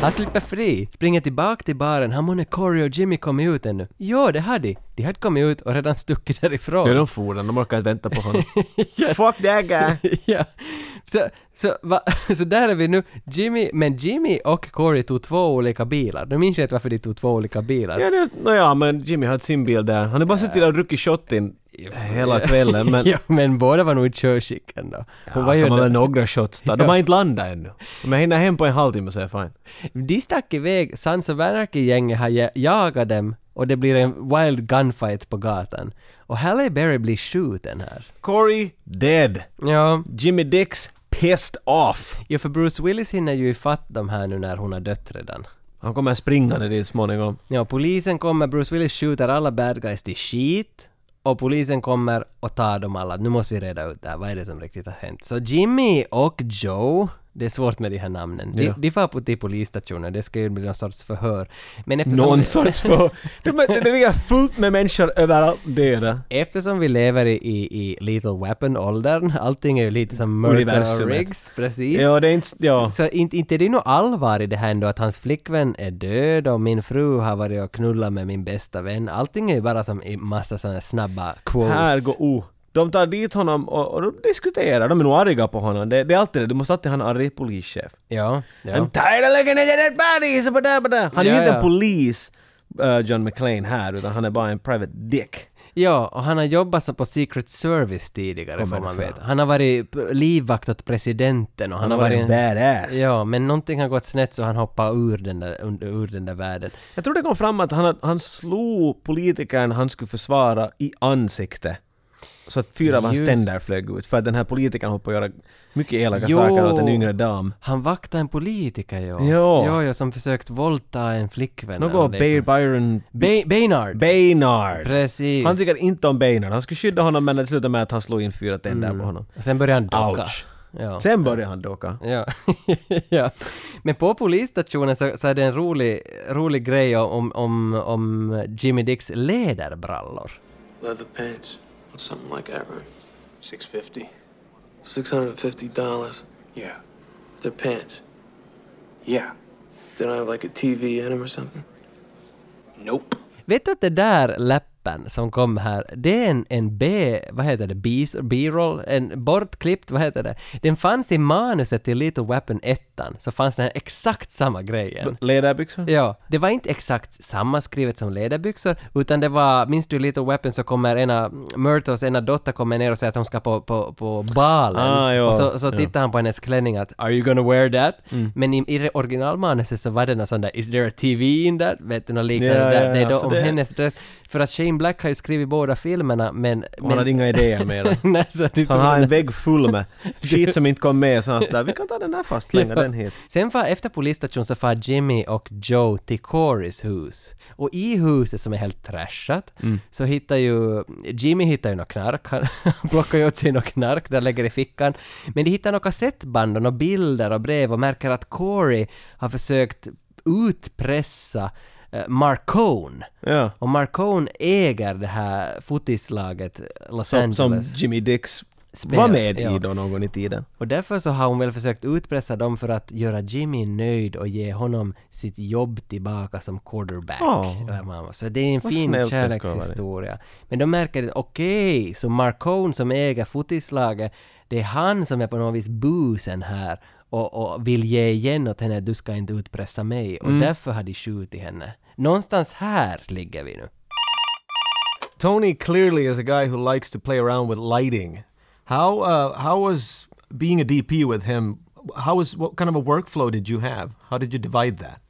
S2: Han slipper fri, springer tillbaka till baren. Han månne Corey och Jimmy kommit ut ännu. Jo, det hade de. De hade kommit ut och redan stuckit därifrån.
S1: Ja, de for den, de orkar inte vänta på honom. Fuck that guy!
S2: ja. Så, så, va, så där är vi nu. Jimmy, men Jimmy och Corey tog två olika bilar. Nu minns jag inte varför de tog två olika bilar.
S1: Ja, det, nåja, men Jimmy har sin bil där. Han har bara suttit och druckit shotin hela kvällen, men
S2: ja, men båda var nog i körskick ändå. Hon
S1: ja,
S2: var ju
S1: de har väl
S2: ändå-
S1: några shots där. De har inte landat ännu. Om jag hinner hem på en halvtimme så är jag fine.
S2: De stack iväg, Sons of Anarchy-gänget har ja- jagat dem och det blir en wild gunfight på gatan. Och Halle Berry blir skjuten här.
S1: Corey, dead.
S2: Ja,
S1: Jimmy Dix, pissed off.
S2: ja för Bruce Willis hinner ju ifatt dem här nu när hon har dött redan.
S1: Han kommer springande dit småningom.
S2: Ja, polisen kommer, Bruce Willis skjuter alla bad guys till skit och polisen kommer och tar dem alla. Nu måste vi reda ut det här, vad är det som riktigt har hänt? Så Jimmy och Joe, det är svårt med de här namnen, de,
S1: Ja.
S2: de far på till polisstationen, det ska ju bli någon sorts förhör. Men eftersom,
S1: Någon sorts för... Det, det, det ligger fullt med människor överallt döda.
S2: eftersom vi lever i, i, i Little Weapon-åldern, allting är ju lite som Murder och
S1: Universumet.
S2: Riggs, precis.
S1: Ja, det är inte... Ja.
S2: Så inte, inte är det är nog allvar i det här ändå att hans flickvän är död och min fru har varit och knullat med min bästa vän. Allting är ju bara som i massa sådana snabba quotes.
S1: Här går O. De tar dit honom och, och de diskuterar. De är nog arga på honom. Det, det är alltid det. Du måste alltid ha en arg polischef.
S2: Ja, ja.
S1: I'm tired of looking at your dead bodies! och bada, bada. uh, Han är
S2: Ja,
S1: ju inte
S2: ja.
S1: en polis, eh, John McClane här, utan han är bara en private dick.
S2: ja, och han har jobbat som på Secret Service tidigare får
S1: men
S2: man
S1: fan.
S2: veta. Han har varit p- livvakt åt presidenten och han,
S1: Han har varit en badass.
S2: Ja, men någonting har gått snett så han hoppar ur den där, under, ur den där världen.
S1: Jag tror det kom fram att han, han slog politikern han skulle försvara i ansikte. Så att fyra av hans
S2: Just.
S1: tänder flög ut. För att den här politikern hoppade göra mycket elaka
S2: Jo.
S1: saker åt en yngre dam.
S2: Han vaktar en politiker, ja.
S1: Ja.
S2: Ja, ja, som försökt våldta en flickvän.
S1: Något Bay Byron...
S2: Bay- Baynard.
S1: Baynard!
S2: Precis. Mm.
S1: Han tycker inte om Baynard. Han skulle skydda honom men det slutade med att han slog in fyra tänder på honom.
S2: Och sen börjar han docka.
S1: Ouch.
S2: Ja.
S1: Sen började han doka.
S2: Ja. ja. Men på polisstationen så, så är det en rolig, rolig grej om, om, om Jimmy Dicks läderbrallor.
S6: Leather pants. Something like that, right? 650 $650? Yeah. They're pants. Yeah. They don't have like a TV in them or something? Nope.
S2: Vet du att det där läppen som kom här, det är en, en B, vad heter det, B's- B-roll, en bortklippt, vad heter det? Den fanns i manuset till Little Weapon 1, så fanns den här exakt samma grejen.
S1: Ledarbyxor?
S2: Ja, det var inte exakt samma skrivet som läderbyxor, utan det var, minns du Little Weapon så kommer ena, Myrtles ena dotter kommer ner och säger att hon ska på, på, på balen.
S1: Ah, ja.
S2: och så, så
S1: Ja. Mm.
S2: tittar han på hennes klänning att “Are you gonna wear that?” Men i, i det originalmanuset så var det någon sån där “Is there a TV in that?” Vet du, något liknande.
S1: Ja, ja,
S2: där. Det är
S1: ja,
S2: då
S1: så
S2: om
S1: det-
S2: hennes dress. För att Shane Black har ju skrivit båda filmerna, men...
S1: Och
S2: men...
S1: han hade inga idéer mer.
S2: Nej, så du
S1: Så han har en vägg full med skit som inte kom med, så han sådär, vi kan ta den här fast, slänga den hit.
S2: Sen var efter polisstationen så far Jimmy och Joe till Corys hus. Och i huset som är helt trashat
S1: Mm.
S2: så hittar ju... Jimmy hittar ju något knark. Han plockar ju åt sig något knark där lägger i fickan. Men de hittar några kassettband och några bilder och brev och märker att Corey har försökt utpressa eh, Marcone.
S1: Ja.
S2: Och Marcone äger det här fotislaget Los
S1: Som, som
S2: Angeles.
S1: Jimmy Dix
S2: Spel,
S1: var med
S2: ja.
S1: i då någon gång i tiden.
S2: Och därför så har hon väl försökt utpressa dem för att göra Jimmy nöjd och ge honom sitt jobb tillbaka som quarterback.
S1: Ja.
S2: Eller mamma. Så det är en
S1: Vad
S2: fin
S1: snällt det ska vara.
S2: kärlekshistoria. Men de märker att okej, så Marcone som äger fotislaget, det är han som är på något vis busen här och, och vill ge igen åt henne, du ska inte utpressa mig.
S1: Mm.
S2: Och därför har de skjutit henne. Någonstans här ligger vi nu.
S1: Tony clearly is a guy who likes to play around with lighting. How uh, how was being a DP with him? How was what kind of a workflow did you have? How did you divide that?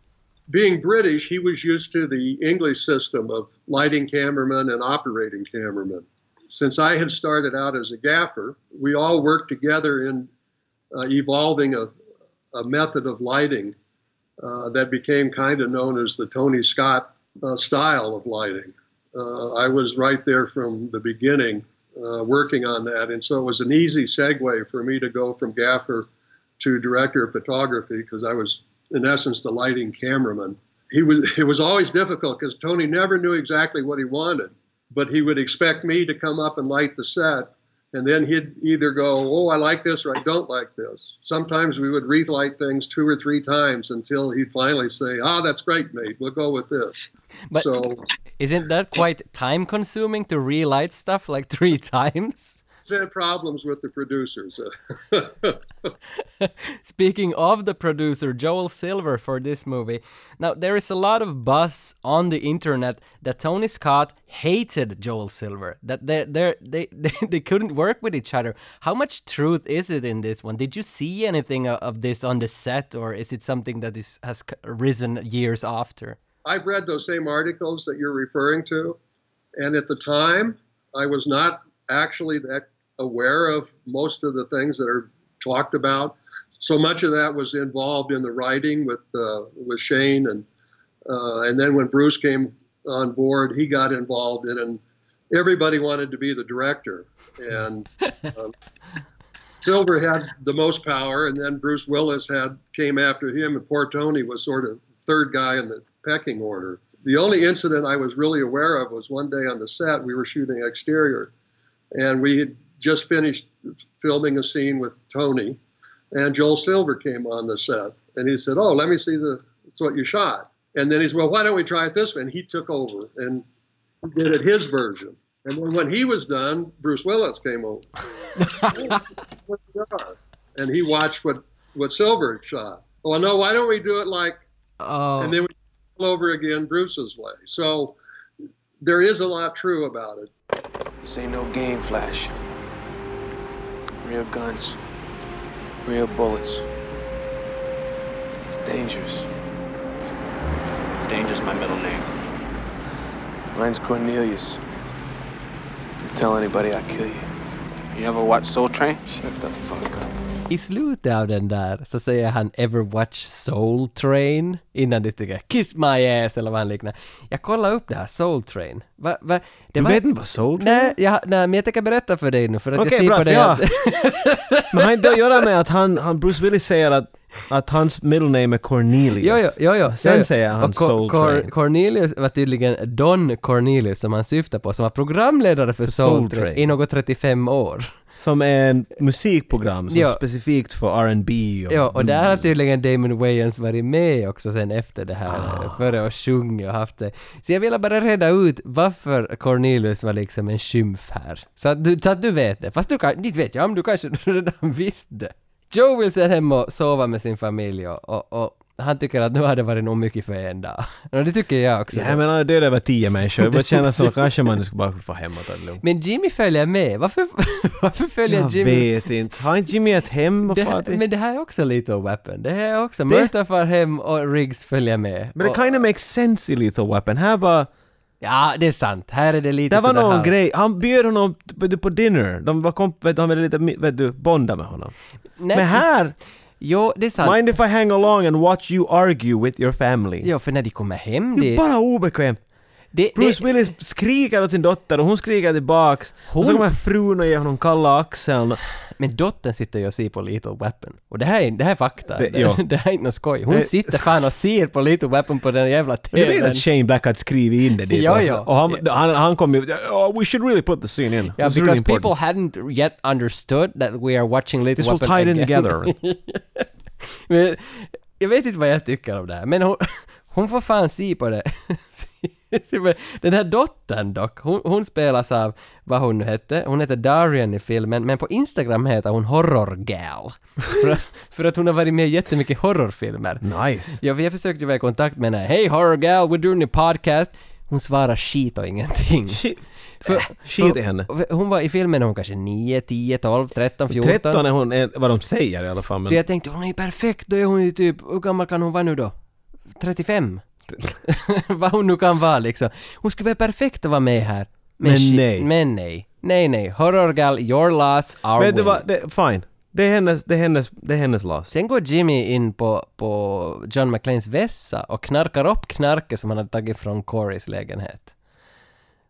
S4: being British, he was used to the English system of lighting cameraman and operating cameraman. Since I had started out as a gaffer, we all worked together in uh, evolving a, a method of lighting uh, that became kind of known as the Tony Scott uh, style of lighting. Uh, I was right there from the beginning uh, working on that, and so it was an easy segue for me to go from gaffer to director of photography because I was, in essence, the lighting cameraman. He was. It was always difficult because Tony never knew exactly what he wanted, but he would expect me to come up and light the set, and then he'd either go, "Oh, I like this," or "I don't like this." Sometimes we would relight things two or three times until he'd finally say, "Ah, that's great, mate. We'll go with this."
S2: But-
S4: so
S2: Isn't that quite time consuming to relight stuff like three times?
S4: he's had problems with the producers.
S2: Speaking of the producer Joel Silver for this movie, now there is a lot of buzz on the internet that Tony Scott hated Joel Silver, that they they they they- they couldn't work with each other. How much truth is it in this one? Did you see anything o- of this on the set, or is it something that is has c- risen years after?
S4: I've read those same articles that you're referring to, and at the time, I was not actually that aware of most of the things that are talked about. So much of that was involved in the writing with uh, with Shane, and uh, and then when Bruce came on board, he got involved in, and everybody wanted to be the director, and. Um, Silver had the most power, and then Bruce Willis had came after him, and poor Tony was sort of third guy in the pecking order. The only incident I was really aware of was one day on the set we were shooting exterior, and we had just finished filming a scene with Tony, and Joel Silver came on the set, and he said, "Oh, let me see the it's what you shot." And then he said, "Well, why don't we try it this way?" And he took over and did it his version. And then when he was done, Bruce Willis came over what we are. And he watched what, what Silver had shot. Well, no, why don't we do it like,
S2: Oh,
S1: Um,
S4: and then we all over again Bruce's way. So there is a lot true about it.
S6: This ain't no game, Flash. Real guns. Real bullets. It's dangerous.
S9: Danger's my middle name.
S6: Mine's Cornelius. You tell anybody I kill you.
S9: You ever watch Soul Train?
S6: Shut the fuck up.
S2: I slutet av den där så säger han “Ever watch Soul Train?” innan de tycker “Kiss my ass” eller vad han liknar. Jag kollade upp det här, Soul Train. Va, va, det
S1: Du
S2: var-
S1: vet inte vad Soul Train
S2: Nej, jag, nej, men jag tänker berätta för dig nu för att
S1: Okej,
S2: jag ser
S1: bra,
S2: på
S1: för
S2: dig
S1: jag-
S2: att...
S1: Men har inte det att göra med att han, han Bruce Willis säger att, att hans middle name är Cornelius?
S2: Jo, jo, jo, jo.
S1: Sen
S2: jo, jo.
S1: säger han
S2: Och Cor-
S1: Soul
S2: Cor-
S1: Train.
S2: Cornelius var tydligen Don Cornelius som han syftar på, som var programledare för Soul,
S1: Soul
S2: Train
S1: Train.
S2: i något 35 år.
S1: Som är en musikprogram som
S2: Ja.
S1: specifikt för R&B och...
S2: Ja, och där har tydligen Damon Wayans varit med också sen efter det här,
S1: Ah.
S2: före och sjungit och haft det. Så jag ville bara reda ut varför Cornelius var liksom en skymf här. Så att du, så att du vet det. Fast du kan, inte vet jag om du kanske redan visste. Joe vill sen hem och sova med sin familj och, och, och han tycker att nu har det varit nog mycket för en dag. Och det tycker jag också.
S1: Ja, men han har dödat över tio människor. Det känns som att kanske man ska bara få hem och ta det lugnt.
S2: Men Jimmy följer med. Varför, varför följer
S1: Jag
S2: Jimmy
S1: vet inte. Har inte Jimmy ett hem? Vad
S2: Det
S1: fan
S2: här,
S1: det-
S2: men det här är också Little Weapon. Det här är också, Murta far hem och Riggs följer med.
S1: Men det
S2: Och-
S1: kind of makes sense i Lethal Weapon. Här bara...
S2: Ja, det är sant. Här är det lite
S1: Det var
S2: sådär
S1: någon
S2: halv-
S1: grej. Han bjöd honom vet du, på dinner. De var komp... Vet du, han ville lite... mi- Vet du, bonda med honom.
S2: Nej,
S1: Men här...
S2: Jo, det är sant.
S1: Mind if I hang along and watch you argue with your family?
S2: Jo, för när de kommer hem,
S1: Det är
S2: det...
S1: bara obekvämt.
S2: det,
S1: Bruce
S2: det
S1: Willis skriker åt sin dotter och hon skriker tillbaks. Och så
S2: Hon-
S1: kommer frun och ger honom kalla axeln.
S2: men dottern sitter ju och ser på Little Weapon. Och det här är, det här är fakta.
S1: Det-
S2: Det,
S1: ja.
S2: det här är inte något skoj. Hon
S1: Det-
S2: sitter fan och ser på Little Weapon på den jävla
S1: Jag vet
S2: TVn.
S1: att Shane Black hade skrivit in det dit.
S2: Ja,
S1: alltså.
S2: ja.
S1: Och han, han, han kom ju... Oh, we should really put the scene in.
S2: Ja,
S1: This is
S2: because
S1: really important.
S2: people hadn't yet understood that we are watching Little
S1: This will
S2: Weapon
S1: tie it in
S2: again.
S1: together.
S2: Men, jag vet inte vad jag tycker om det här, men hon, hon får fan se på det. Se på det. Den här dottern dock, hon, hon spelas av vad hon nu hette, hon heter Darian i filmen, men på Instagram heter hon Horror Gal. För, att- för att hon har varit med i jättemycket horrorfilmer.
S1: Nice.
S2: Ja, för jag försökte ju vara i kontakt med henne. Hej Horror Gal, we're doing a podcast. Hon svarar shit och ingenting.
S1: Shit.
S2: För-
S1: Shit i henne.
S2: Hon var i filmen, hon kanske 9, 10, 12, 13, 14.
S1: 13 är hon, är vad de säger i alla fall. Men
S2: Så jag tänkte hon är ju perfekt, då är hon ju typ, hur gammal kan hon vara nu då? 35? Vad hon nu kan vara liksom. Hon skulle vara perfekt att vara med här.
S1: Men
S2: shit-
S1: nej.
S2: Men nej. Nej nej. Horror gal, your loss, our
S1: Vet du
S2: win.
S1: vad, det, fine. Det är hennes, det är hennes, det är hennes loss.
S2: Sen går Jimmy in på, på John McClanes vässa och knarkar upp knarket som han hade tagit från Corys lägenhet.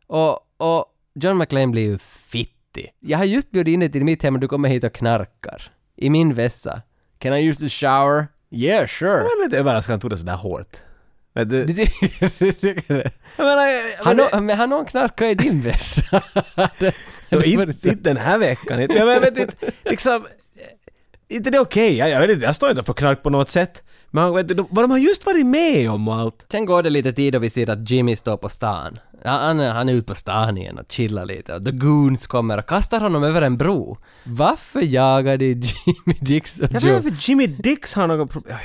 S2: Och, och John McClane blir ju fittig. Jag har just bjudit in dig till mitt hem och du kommer hit och knarkar. I min vässa. Can I use the shower? Yeah, sure.
S1: Jag är lite överraskad att han tog det sådär hårt. Men du,
S2: Du tycker det?
S1: jag menar, jag-
S2: Han
S1: men-
S2: har- Men han har knarkat i din vässa. Det-
S1: Nå,
S2: det var
S1: inte,
S2: det så-
S1: inte den här veckan. Inte. Jag vet inte, liksom... Inte det är okej, jag, jag vet inte, jag står inte för knark på något sätt. Men han- vet du, de- vad de har just varit med om och allt.
S2: Sen går det lite tid och vi ser att Jimmy står på stan. Han, han, är- han är ute på stan igen och chillar lite och The Goons kommer och kastar honom över en bro. Varför jagade Jimmy Dix och
S1: Jag vet
S2: Joe?
S1: inte varför Jimmy Dix har något problem.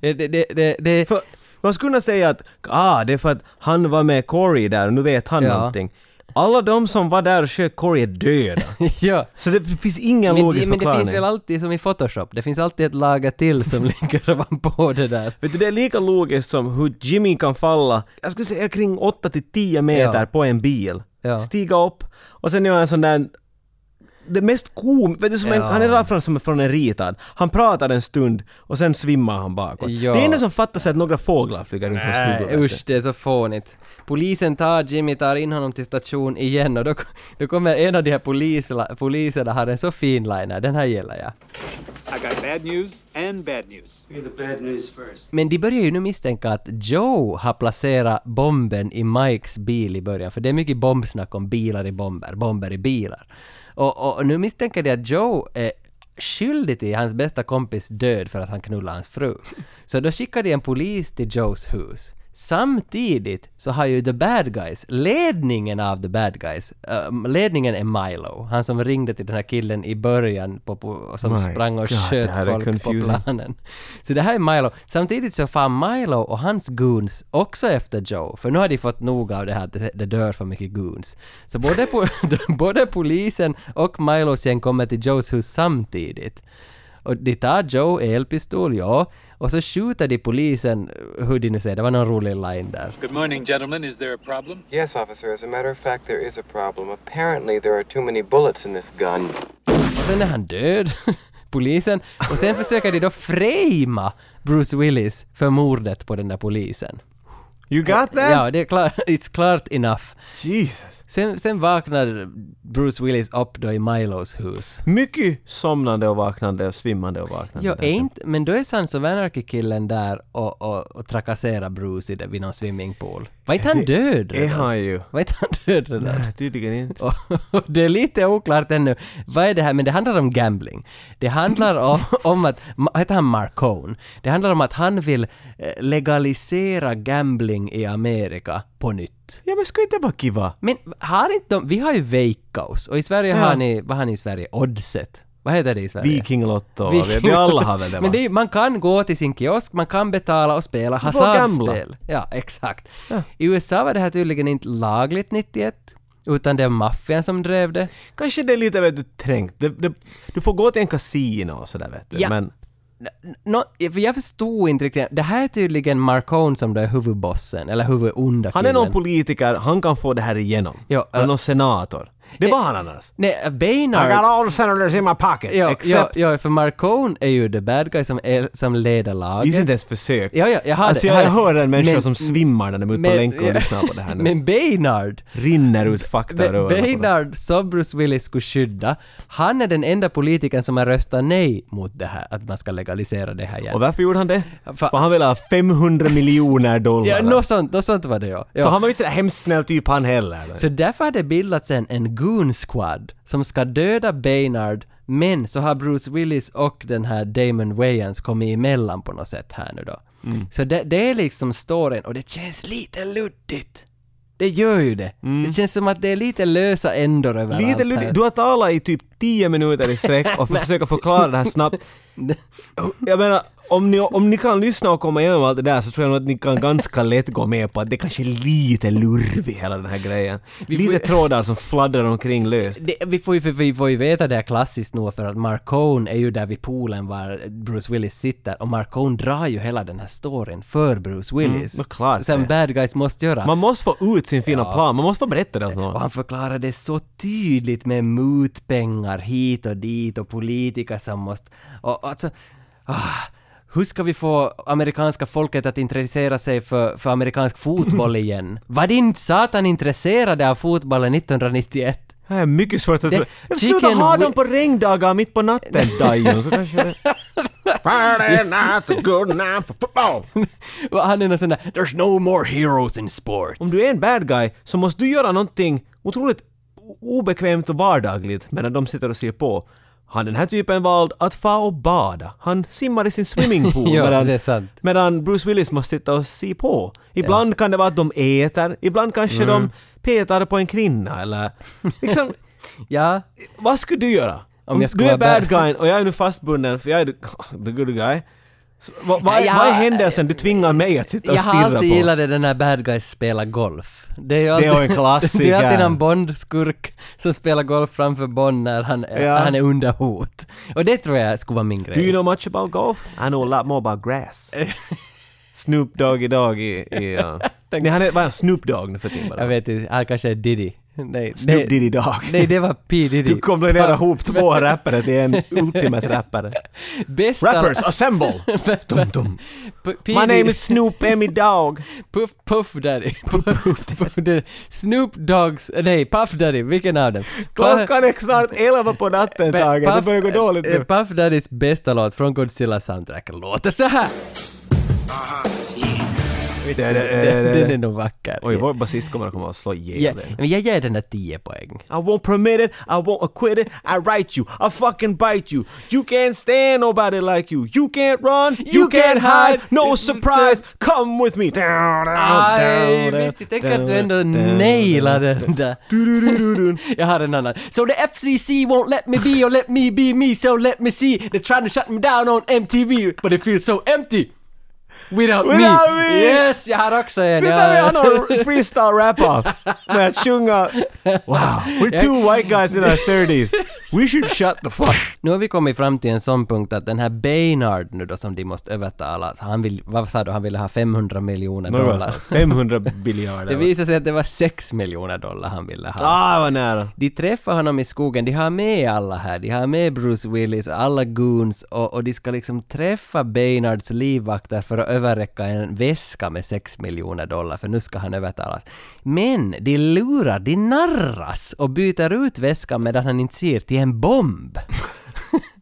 S2: Det, det, det, det, det,
S1: För, man skulle kunna säga att ah, det är för att han var med Corey där och nu vet han
S2: Ja.
S1: någonting. Alla de som var där och sköt Corey är döda.
S2: ja.
S1: Så det finns ingen
S2: Men,
S1: logisk
S2: det- men det
S1: förklaring.
S2: finns väl alltid som i Photoshop, det finns alltid ett lager till som ligger ovanpå det där.
S1: Vet du, det är lika logiskt som hur Jimmy kan falla, jag skulle säga kring 8 till 10 meter
S2: Ja.
S1: på en bil.
S2: Ja.
S1: Stiga upp och sen gör han en sån där det mest kom, vet du, som en,
S2: Ja.
S1: han är rakt fram som från en ritad. Han pratar en stund och sen svimmar han bakåt.
S2: Ja.
S1: Det enda som fattas är att några fåglar flyger runt hans huvud. vet
S2: Nej,
S1: du.
S2: usch, det är så fånigt. Polisen tar Jimmy, tar in honom till station igen och då, då kommer en av de här poliserna, poliserna har en så fin liner, den här gillar jag.
S3: I got bad news and bad news.
S6: Hear the bad news first.
S2: Men de börjar ju nu misstänka att Joe har placerat bomben i Mikes bil i början, för det är mycket bombsnack om bilar i bomber, bomber i bilar. Och, och, och nu misstänker de att Joe är skyldig till hans bästa kompis död för att han knullade hans fru. Så då skickar de en polis till Joes hus. Samtidigt så har ju The Bad Guys, ledningen av The Bad Guys, eh, ledningen är Milo, han som ringde till den här killen i början på, på, som
S1: My
S2: sprang och
S1: God,
S2: sköt
S1: det här är
S2: folk på
S1: confusing.
S2: plan planen. Så det här är Milo. Samtidigt så far Milo och hans goons också efter Joe, för nu har de fått nog av det här att det- det dör för mycket goons. Så både, po både polisen och Milos gäng kommer till Joes hus samtidigt. Och de tar Joe elpistol, ja, och så skjuter de polisen, hur de nu säger, det var någon rolig line där.
S3: Good morning, gentlemen. Is there a problem?
S6: Yes, officer. As a matter of fact, there is a problem. Apparently, there are too many bullets in this gun.
S2: Och sen är han död. polisen och sen försöker de då framea Bruce Willis för mordet på den där polisen.
S1: You got that?
S2: Ja, det är klart, it's klart enough.
S1: Jesus.
S2: Sen, sen vaknar Bruce Willis upp då i Milos hus.
S1: Mycket somnande och vaknande och svimmande och vaknande.
S2: Jo, inte, men då Alltså, är Sons of Anarchy-killen där och, och, och trakasserar Bruce i det, vid någon swimmingpool. Var inte han död
S1: Är
S2: redan?
S1: han ju.
S2: Var inte han död redan?
S1: Nej, tydligen inte.
S2: Och, och det är lite oklart ännu. Vad är det här? Men det handlar om gambling. Det handlar om, om att, Ma- heter han Marcone? Det handlar om att han vill eh, legalisera gambling i Amerika på nytt.
S1: Ja men ska inte vara kiva?
S2: Men har inte de, vi har ju Veikkaus och i Sverige
S1: Ja.
S2: har ni, vad har ni i Sverige? Oddset. Vad heter det i Sverige?
S1: Vikinglotto, vi, vi alla har väl det va?
S2: Men det är, man kan gå till sin kiosk, man kan betala och spela
S1: får gambla.
S2: hasardspel. Ja, exakt. I USA var det här tydligen inte lagligt 91, utan det var maffian som drev det.
S1: Kanske det är lite vet du, trängt. Det, det, du får gå till en kasino och sådär vet du.
S2: Ja.
S1: Men
S2: Nå, för jag förstod inte riktigt. Det här är tydligen Marcone som då är huvudbossen, eller huvudonda
S1: han är någon
S2: killen.
S1: politiker, han kan få det här igenom.
S2: Ja,
S1: Eller
S2: äh,
S1: någon senator. Det
S2: eh,
S1: var han annars.
S2: Nej,
S1: I
S2: Baynard...
S1: got all senators in my pocket,
S2: Ja, ja,
S1: except...
S2: ja, för Marcone är ju the bad guy som, är, som leder laget.
S1: Gissa inte ens försök.
S2: Ja, ja, jag har
S1: alltså
S2: det,
S1: jag,
S2: har
S1: jag
S2: det.
S1: hör en människa
S2: Men-
S1: som svimmar när de är ute på
S2: Men-
S1: länken och
S2: ja.
S1: lyssnar på det här nu.
S2: Men Baynard!
S1: Rinner ut fakta ur öronen på dem.
S2: Baynard, som Bruce Willis skulle skydda, han är den enda politikern som har röstat nej mot det här, att man ska legalisera det här
S1: Och
S2: igen.
S1: varför gjorde han det?
S2: Fa-
S1: För han ville ha 500 miljoner dollar.
S2: Ja, något sånt, något sånt var det ja. ja.
S1: Så han var ju inte så där hemskt snäll typ han heller.
S2: Så därför har det bildats en, en goon squad som ska döda Baynard men så har Bruce Willis och den här Damon Wayans kommit emellan på något sätt här nu då.
S1: Mm.
S2: Så det, det är liksom storyn och det känns lite luddigt. Det gör ju det. Det känns som att det är lite lösa ändor överallt
S1: Mm. Lite
S2: här.
S1: luddigt. Du har talat i typ 10 minuter i sträck och försöker förklara det här snabbt. Jag menar, om ni, om ni kan lyssna och komma igenom allt det där så tror jag nog att ni kan ganska lätt gå med på att det kanske är lite lurvigt hela den här grejen. Lite trådar som fladdrar omkring löst.
S2: Det, vi, får ju, för vi får ju veta det här klassiskt nog för att Marcone är ju där vid poolen var Bruce Willis sitter och Marcone drar ju hela den här storyn för Bruce Willis.
S1: Mm, men klart
S2: Som
S1: det.
S2: bad guys måste göra.
S1: Man måste få ut sin fina plan, man måste få berätta det åt
S2: Och
S1: någon.
S2: han förklarar det så tydligt med mutpengar hit och dit och politiker som måste... Och, och alltså, ah, hur ska vi få amerikanska folket att intressera sig för, för amerikansk fotboll igen? Var din satan intresserade av fotbollen 1991?
S1: Det här är mycket svårt att tro.
S2: Det-
S1: Sluta
S2: chicken
S1: ha
S2: wi-
S1: dem på regndagar mitt på natten, Dajon, så kanske det... Friday night's a good night for football.
S2: Och han är någon sån där “There's no more heroes in sport”.
S1: Om du är en bad guy så måste du göra någonting otroligt o- obekvämt och vardagligt medan de sitter och ser på. Han den här typen vald att fa och bada. Han simmar i sin swimmingpool
S2: Ja,
S1: medan,
S2: det är sant.
S1: medan Bruce Willis måste sitta och se på. Ibland kan det vara att de äter, ibland kanske
S2: Mm.
S1: de petar på en kvinna eller... Liksom,
S2: Ja,
S1: vad skulle du göra?
S2: Om
S1: Om
S2: jag skulle
S1: du är
S2: vara
S1: bad
S2: bad-
S1: guyen och jag är nu fastbunden för jag är the the good guy. Så, vad, vad,
S2: Ja,
S1: vad är
S2: jag-
S1: händelsen du tvingar mig att sitta och
S2: jag
S1: stirra på?
S2: har alltid gillat det, den här bad guys spelar golf. Det är ju alltid,
S1: ju en klassiker.
S2: det är alltid någon Bond-skurk som spelar golf framför Bond när han, är-
S1: Ja.
S2: han är under hot. Och det tror jag skulle vara min grej.
S1: Do you know much about golf? I know a lot more about grass. Snoop Doggy Doggy i... Uh, nej, han är bara Snoop Dogg nu för tiden
S2: Jag
S1: bara.
S2: vet inte, han kanske är Diddy. Nej,
S1: Snoop Diddy Dog.
S2: Nej, det var P Diddy.
S1: Du kombinerar ihop två rappare till en ultimate rappare.
S2: Bästa...
S1: Rappers, assemble! Dum, dum.
S2: P- P.
S1: My name
S2: Diddy-
S1: is Snoop Emmy Dog.
S2: Puff, Puff Daddy. Puff, Puff Daddy. Snoop Dogs... Nej, Puff Daddy. Vilken av dem? Puff-
S1: Klockan är snart elva på natten,
S2: Pe-
S1: Tage. Det börjar gå dåligt
S2: eh,
S1: nu.
S2: Puff Daddys bästa låt från Godzilla soundtrack låter så här.
S1: Det- det- det- det-
S2: Den är nog vacker.
S1: Oj, vår basist kommer att komma och slå
S2: Ja,
S1: ihjäl dig.
S2: men jag ger den där 10 poäng.
S1: I won't permit it, I won't acquit it, I write you, I fucking bite you. You can't stand nobody like you. You can't run, you, can't hide, no surprise, come with me. Down, down,
S2: Aj,
S1: down, down,
S2: Mitsi, tänk att du ändå
S1: down, down,
S2: nailar
S1: down.
S2: den där.
S1: Du-du-du-du-du.
S2: Jag har en annan. So the FCC won't let me be or let me be me so let me see. They're trying to shut me down on MTV but it feels so empty. Without,
S1: Without
S2: me.
S1: me!
S2: Yes, jag har också en.
S1: Titta
S2: Ja.
S1: vi har någon freestyle rap-off med att sjunga Wow, we're two white guys in our 30s. We should shut the fuck.
S2: Nu har vi kommit fram till en sån punkt att den här Baynard nu då som de måste övertala, så han vill, vad sa du, han ville ha 500 miljoner dollar.
S1: 500 biljarder.
S2: Det visade sig att det var 6 miljoner dollar han ville ha.
S1: Ah, vad nära.
S2: De träffar honom i skogen, de har med alla här, de har med Bruce Willis, alla goons och, och de ska liksom träffa Baynards livvakter för att överräcka en väska med 6 miljoner dollar för nu ska han övertalas. Men de lurar, de narras och byter ut väskan medan han inte ser till en bomb.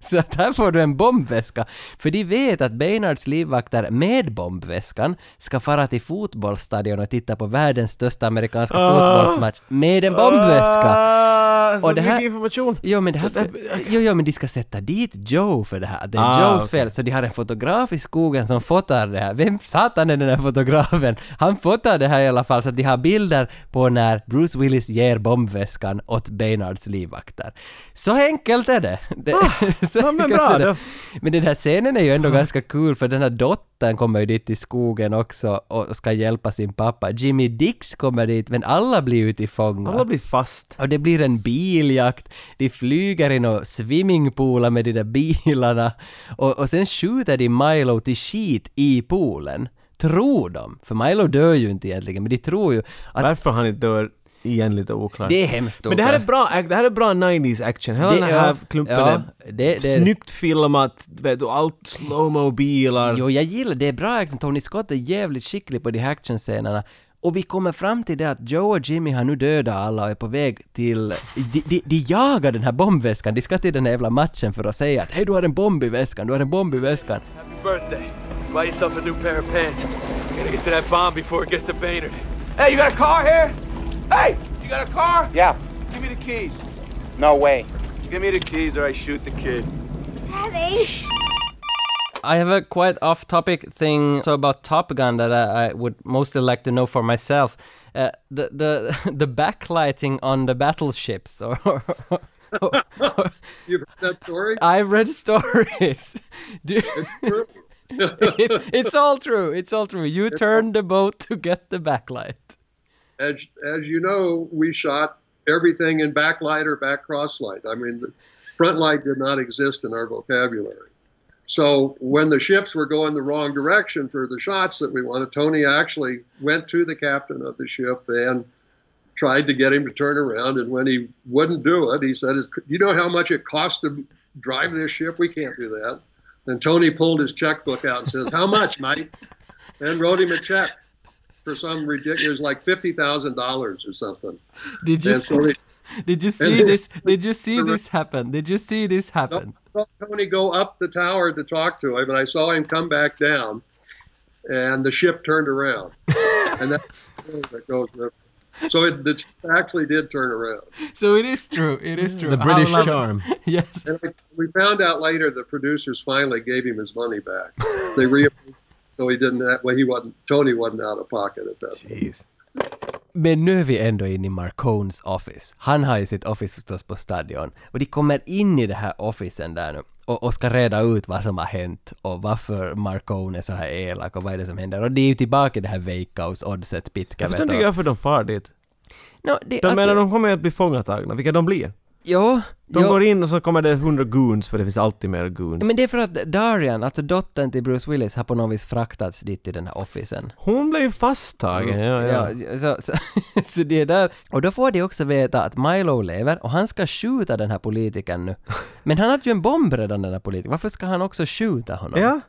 S2: Så att här får du en bombväska. För de vet att Baynards livvakter med bombväskan ska fara till fotbollsstadion och titta på världens största amerikanska fotbollsmatch med en bombväska.
S1: Ah, så
S2: Och det här-
S1: mycket information.
S2: Jo men, det här ska, jo, jo men de ska sätta dit Joe för det här. Det är
S1: äh, Ah,
S2: Joes
S1: okej.
S2: fel. Så de har en fotograf i skogen som fotar det här. Vem satan är den här fotografen? Han fotar det här i alla fall. Så att de har bilder på när Bruce Willis ger bombväskan åt Baynards livvakter. Så enkelt är det. det så
S1: Ah, ja, men
S2: enkelt
S1: bra
S2: är det.
S1: då. Ah.
S2: Men den här scenen är ju ändå ganska kul för den här dottern kommer ju dit till skogen också och ska hjälpa sin pappa. Jimmy Dix kommer dit men alla blir ju till fånga.
S1: Alla blir fast.
S2: Och det blir en biljakt, de flyger i några swimmingpooler med de där bilarna och, och sen skjuter de Milo till skit i poolen. Tror de. För Milo dör ju inte egentligen, men de tror ju att
S1: Varför han inte dör igen lite oklart.
S2: det är hemskt.
S1: Men det här är
S2: oklart.
S1: bra, act- det här är bra 90s action. Hela
S2: Det-
S1: den här
S2: ja,
S1: klumpen
S2: ja,
S1: är
S2: det- det-
S1: snyggt filmat, vet du, allt slowmo bilar.
S2: Jo, jag gillar det. är bra action. Tony Scott är jävligt skicklig på de här actionscenerna. Och vi kommer fram till det att Joe och Jimmy har nu dödat alla och är på väg till... De, de, de jagar den här bombväskan. De ska till den här jävla matchen för att säga att hej, du har en bomb i väskan, du har en bomb i väskan.
S9: birthday. Buy yourself a new pair of pants. Gotta get to that bomb before it gets to Baynard.
S7: Hey, you got a car here? Hey, you got a car?
S9: Yeah. Give me the keys. No way. Give me the keys or I shoot the kid.
S2: I have a quite off topic thing so about Top Gun that I, I would mostly like to know for myself. Uh, the the the backlighting on the battleships or,
S4: You've heard that story?
S2: I've read stories. Do-
S4: True.
S2: it's, it's all true. It's all true. You turn the boat to get the backlight.
S4: As, as you know, we shot everything in backlight or back crosslight. I mean, the front light did not exist in our vocabulary. So when the ships were going the wrong direction for the shots that we wanted, Tony actually went to the captain of the ship and tried to get him to turn around. And when he wouldn't do it, he said, "Is- "Do you know how much it costs to drive this ship? We can't do that." And Tony pulled his checkbook out and says, "How much, Mike?" And wrote him a check for some ridiculous, it was like fifty thousand dollars or something.
S2: Did you
S4: And so
S2: see,
S4: they-
S2: did you see this? Did you see this happen? Did you see this happen?
S4: saw Tony go up the tower to talk to him, and I saw him come back down, and the ship turned around, and that's the story that goes with it. So it, it actually did turn around.
S2: So it is true. It is true.
S1: The
S2: How
S1: British
S2: lovely.
S1: charm.
S2: Yes.
S4: And I, we found out later the producers finally gave him his money back. They re so he didn't. That way, he wasn't. Tony wasn't out of pocket at that. Point.
S1: Jeez.
S2: Men nu är vi ändå inne i Marcones office. Han har ju sitt office förstås på stadion. Och de kommer in i det här officen där nu och, och ska reda ut vad som har hänt och varför Marcone är så här elak och vad är det som händer. Och det är ju tillbaka i det här Veikkaus-oddset
S1: Jag
S2: Pitkävet.
S1: förstår inte varför de far dit.
S2: No, det,
S1: De
S2: alltså,
S1: menar de kommer att bli fångatagna, vilka de blir.
S2: Jo,
S1: De
S2: jo.
S1: går in och så kommer det hundra goons, för det finns alltid mer goons.
S2: Men det är för att Darian, alltså dottern till Bruce Willis, har på något vis fraktats dit till den här officen.
S1: Hon blev ju fasttagen.
S2: Mm.
S1: Ja, ja.
S2: så, så, så det är där. Och då får de också veta att Milo lever och han ska skjuta den här politikern nu. Men han hade ju en bomb redan den här politikern. Varför ska han också skjuta honom?
S1: ja.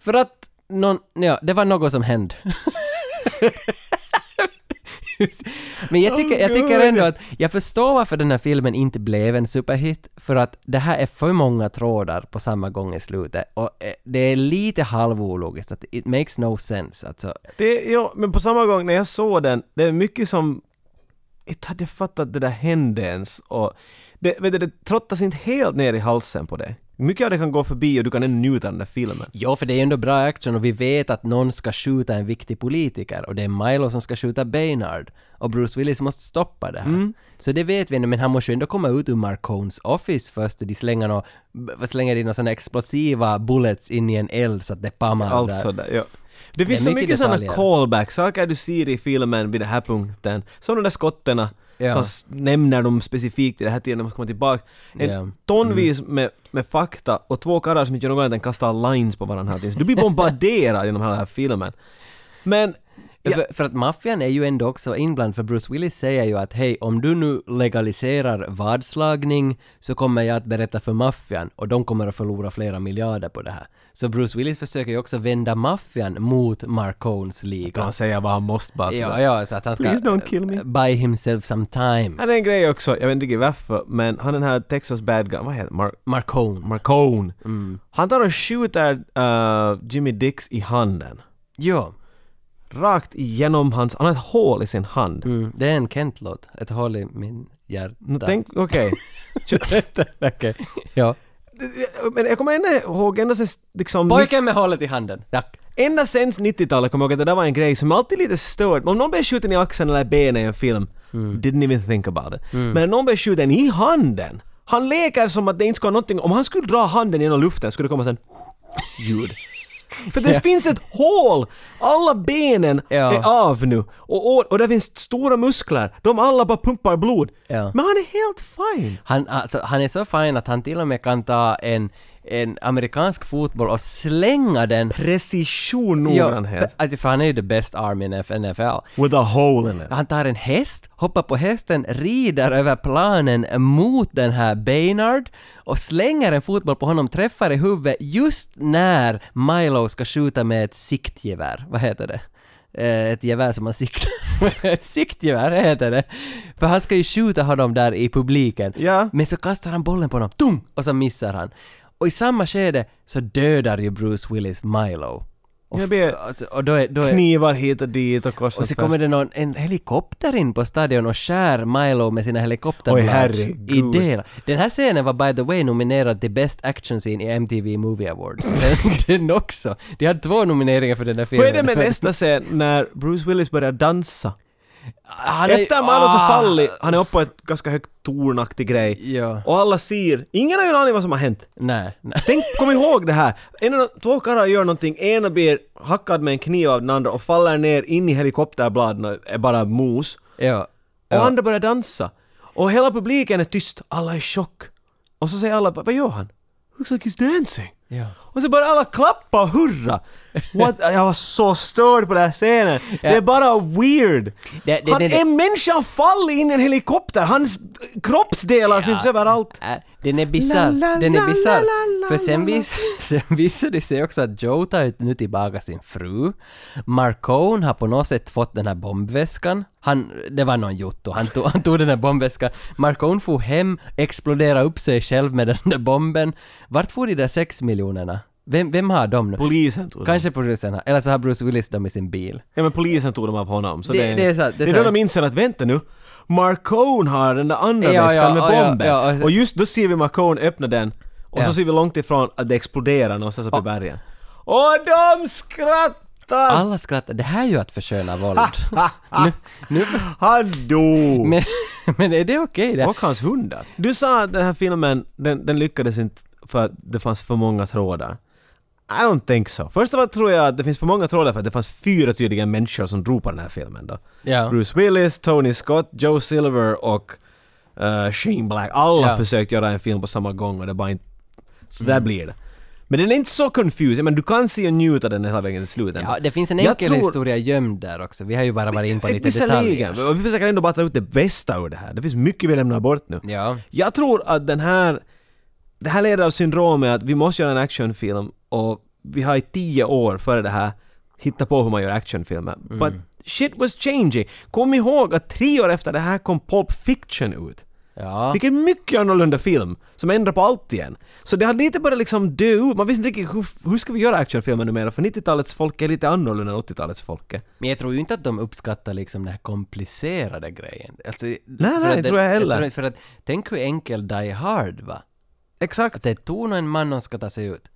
S2: För att någon, ja, det var något som hände. Men jag tycker, jag tycker ändå att jag förstår varför den här filmen inte blev en superhit, för att det här är för många trådar på samma gång i slutet och eh, det är lite halvologiskt, att it makes no sense alltså.
S1: Det, ja, men på samma gång när jag såg den, det är mycket som... Jag hade fattat att det där hände ens och det, vet du, det trottas inte helt ner i halsen på dig. Mycket av det kan gå förbi och du kan ändå njuta av den där filmen.
S2: Jo, för det är ju ändå bra action och vi vet att någon ska skjuta en viktig politiker och det är Milo som ska skjuta Baynard och Bruce Willis måste stoppa det här. Så det vet vi ändå, men han måste ju ändå komma ut ur Marcones office först och de slänger, nå, b- slänger in några sådana explosiva bullets in i en eld så att det pammar
S1: Allt
S2: där.
S1: sådär, Alltså, ja. Det finns
S2: Det är
S1: så
S2: mycket
S1: mycket sådana
S2: detaljer.
S1: callbacks, saker du ser i filmen vid den här punkten. Som de där skotten
S2: Ja.
S1: som s- nämner de specifikt i den här tiden när man kommer tillbaka. En
S2: Ja. Mm.
S1: tonvis med, med fakta och två karlar som inte gör något annat än kastar lines på varandra. hela tiden. Så Du blir bombarderad genom hela den här filmen. Men
S2: Ja. För, för att maffian är ju ändå också inblandad, för Bruce Willis säger ju att hej, om du nu legaliserar vadslagning så kommer jag att berätta för maffian och de kommer att förlora flera miljarder på det här. Så Bruce Willis försöker ju också vända maffian mot Marcones liga.
S1: han säger vad han måste bara sådär.
S2: Ja, ja, så att han ska
S1: Please don't kill me.
S2: eh, buy himself some time.
S1: Han är en grej också, jag vet inte varför, men han den här Texas bad guy, vad heter han? Mar-
S2: Marcone. Mm.
S1: Marcone. Han tar och skjuter eh, Jimmy Dix i handen.
S2: Jo,
S1: rakt igenom hans, han har ett hål i sin hand.
S2: mm, det är en Kent-låt. Ett hål i min hjärta.
S1: Nå, tänk, okej.
S2: Okej. Ja.
S1: Men jag kommer ändå ihåg, ända sen liksom...
S2: Pojken med hålet i handen. Tack.
S1: Ända sen 90-talet kommer jag ihåg att det där var en grej som alltid är lite störd. Om någon blir skjuten i axeln eller benet i en film,
S2: Mm.
S1: didn't even think about it. Men om någon blir skjuten i handen, han leker som att det inte ska vara någonting. Om han skulle dra handen genom luften skulle det komma sen ljud. För det finns ett hål! Alla benen
S2: Ja.
S1: är av nu. Och, och, och det finns stora muskler. De alla bara pumpar blod.
S2: Ja.
S1: Men han är helt fine.
S2: Han, alltså, han är så fin att han till och med kan ta en, en amerikansk fotboll och slänga den.
S1: Precision
S2: Jo,
S1: noggrannhet.
S2: alltså, för han är ju the best arm in F- NFL.
S1: With a hole in it.
S2: Han tar en häst, hoppar på hästen, rider över planen mot den här Baynard och slänger en fotboll på honom, träffar i huvudet just när Milo ska skjuta med ett siktgevär. Vad heter det? Eh, Ett gevär som man siktar Ett siktgevär heter det. För han ska ju skjuta honom där i publiken.
S1: Ja.
S2: Men så kastar han bollen på honom, tung! Och så missar han. Och i samma skede så dödar ju Bruce Willis Milo. Och,
S1: Jag ber-
S2: alltså, och då är, då är,
S1: Knivar hit och dit och kors
S2: och så kommer det någon, en helikopter in på stadion och skär Milo med sina
S1: Oj,
S2: helikopterblad i
S1: herregud.
S2: delar. Den här scenen var by the way nominerad till Best Action Scene i MTV Movie Awards. Den, den också. De hade två nomineringar för den där
S1: Vad
S2: filmen.
S1: är det med nästa scen när Bruce Willis börjar dansa?
S2: Han är-
S1: Efter mannen som
S2: Ah!
S1: fallit, han är uppe på ett ganska högt tornaktig grej.
S2: Ja.
S1: Och alla ser, ingen har ju en aning vad som har hänt.
S2: Nej, nej.
S1: Tänk, kom ihåg det här! En, av de- två karlar gör någonting, ena blir hackad med en kniv av den andra och faller ner in i helikopterbladen och är bara mos.
S2: Ja.
S1: Och
S2: Ja.
S1: andra börjar dansa. Och hela publiken är tyst, alla är i chock. Och så säger alla, vad gör han? Looks like he's dancing.
S2: Ja.
S1: Och så börjar alla klappa och hurra! What? Jag var så störd på den här scenen! Det är bara weird!
S2: Det- det-
S1: han
S2: det- det-
S1: är människa, han faller in i en helikopter! Hans kroppsdelar finns överallt!
S2: Äh, Den är bisarr,
S1: La, la,
S2: den
S1: la,
S2: är bisarr.
S1: la, la,
S2: För sen,
S1: la, la.
S2: vis, sen visar det sig också att Joe tar nu tillbaka sin fru. Marcone har på något sätt fått den här bombväskan. Han, det var någon jotto, han tog, han tog den här bombväskan. Marcone for hem, exploderade upp sig själv med den där bomben. Vart får de där sex miljonerna? Vem, vem har dem nu?
S1: Polisen tog dem.
S2: Kanske producenterna, eller så har Bruce Willis dem i sin bil.
S1: Ja men polisen tog dem av honom. Så
S2: Det-
S1: det,
S2: det är sant, det
S1: Det
S2: är
S1: är då
S2: sant.
S1: de inser att vänta nu, Marcone har den där andra
S2: Ja,
S1: väskan
S2: ja,
S1: med
S2: ja,
S1: bomben.
S2: ja, ja.
S1: och just då ser vi Marcone öppna den och
S2: Ja.
S1: så ser vi långt ifrån att det exploderar någonstans uppe i bergen. Och de skrattar!
S2: Alla skrattar, det här är ju att försköna våld. Ah, nu, nu,
S1: Han dog!
S2: men, men är det okej det?
S1: Och hans hundar. Du sa att den här filmen, den, den lyckades inte för att det fanns för många trådar. I don't think so. Först av allt tror jag att det finns för många trådar för att det fanns fyra tydliga människor som drog på den här filmen då.
S2: Ja.
S1: Bruce Willis, Tony Scott, Joe Silver och eh, Shane Black. Alla
S2: Ja. Mm.
S1: försökte göra en film på samma gång och det bara inte... Så där blir det. Men den är inte så confusing, men du kan se och njuta den hela vägen till slutet.
S2: Ja, det finns en
S1: Jag
S2: enkel
S1: tror-
S2: historia gömd där också. Vi har ju bara varit in på lite
S1: Visserligen,
S2: detaljer.
S1: men vi försöker ändå bara ta ut det bästa ur det här. Det finns mycket vi lämnar bort nu.
S2: Ja.
S1: Jag tror att den här... Det här leder av syndromet att vi måste göra en actionfilm och vi har i tio år före det här hittat på hur man gör actionfilmer. But shit was changing. Kom ihåg att tre år efter det här kom Pulp Fiction ut.
S2: Ja.
S1: Vilket är mycket annorlunda film, som ändrar på allt igen. Så det har lite börjat liksom dö ut. Man visste inte riktigt hur, hur ska vi göra actionfilmer numera, för 90-talets folk är lite annorlunda än 80-talets folk. är.
S2: Men jag tror ju inte att de uppskattar liksom den här komplicerade grejen. Alltså, nej,
S1: nej, det tror jag heller.
S2: för att, tänk hur enkel Die Hard va? Att
S1: Exakt.
S2: det är ton och en man som ska ta sig ut.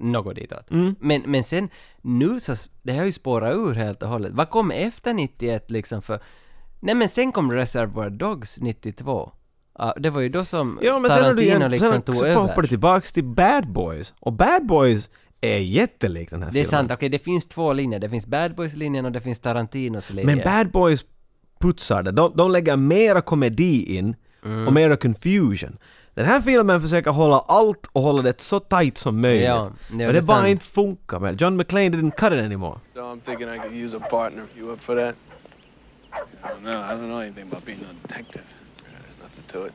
S2: Något ditåt.
S1: Mm.
S2: Men, men sen, nu så, s- det har ju spårat ur helt och hållet. Vad kom efter 91 liksom för... Nej men sen kom Reservoir Dogs 92. Ja, det var ju då som
S1: Ja, men sen har du
S2: Tarantino
S1: igen,
S2: liksom
S1: sen
S2: tog
S1: så
S2: över.
S1: hoppar du tillbaks till Bad Boys, och Bad Boys är jättelik den här
S2: Det är
S1: filmen.
S2: sant, okej det finns två linjer. Det finns Bad Boys-linjen och det finns Tarantinos linje.
S1: Men Bad Boys putsar det. De, de lägger mera komedi in
S2: Mm.
S1: och mera confusion. Den här filmen försöker hålla allt och hålla det så tight som möjligt.
S2: Ja,
S1: Men
S2: det
S1: det,
S2: är
S1: bara
S2: sant.
S1: inte funkar med John McClane didn't cut it anymore.
S6: So I'm thinking I could use a partner. You up for that?
S9: I don't know. I don't know anything about being a detective.
S6: There's nothing to it.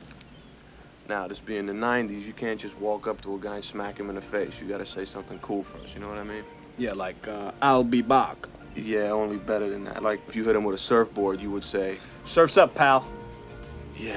S6: Now, this being the 90s, you can't just walk up to a guy and smack him in the face. You gotta say something cool first, you know what I mean?
S8: Yeah, like, uh, I'll be back.
S6: Yeah, only better than that. Like, if you hit him with a surfboard, you would say,
S8: Surf's up, pal.
S6: yeah,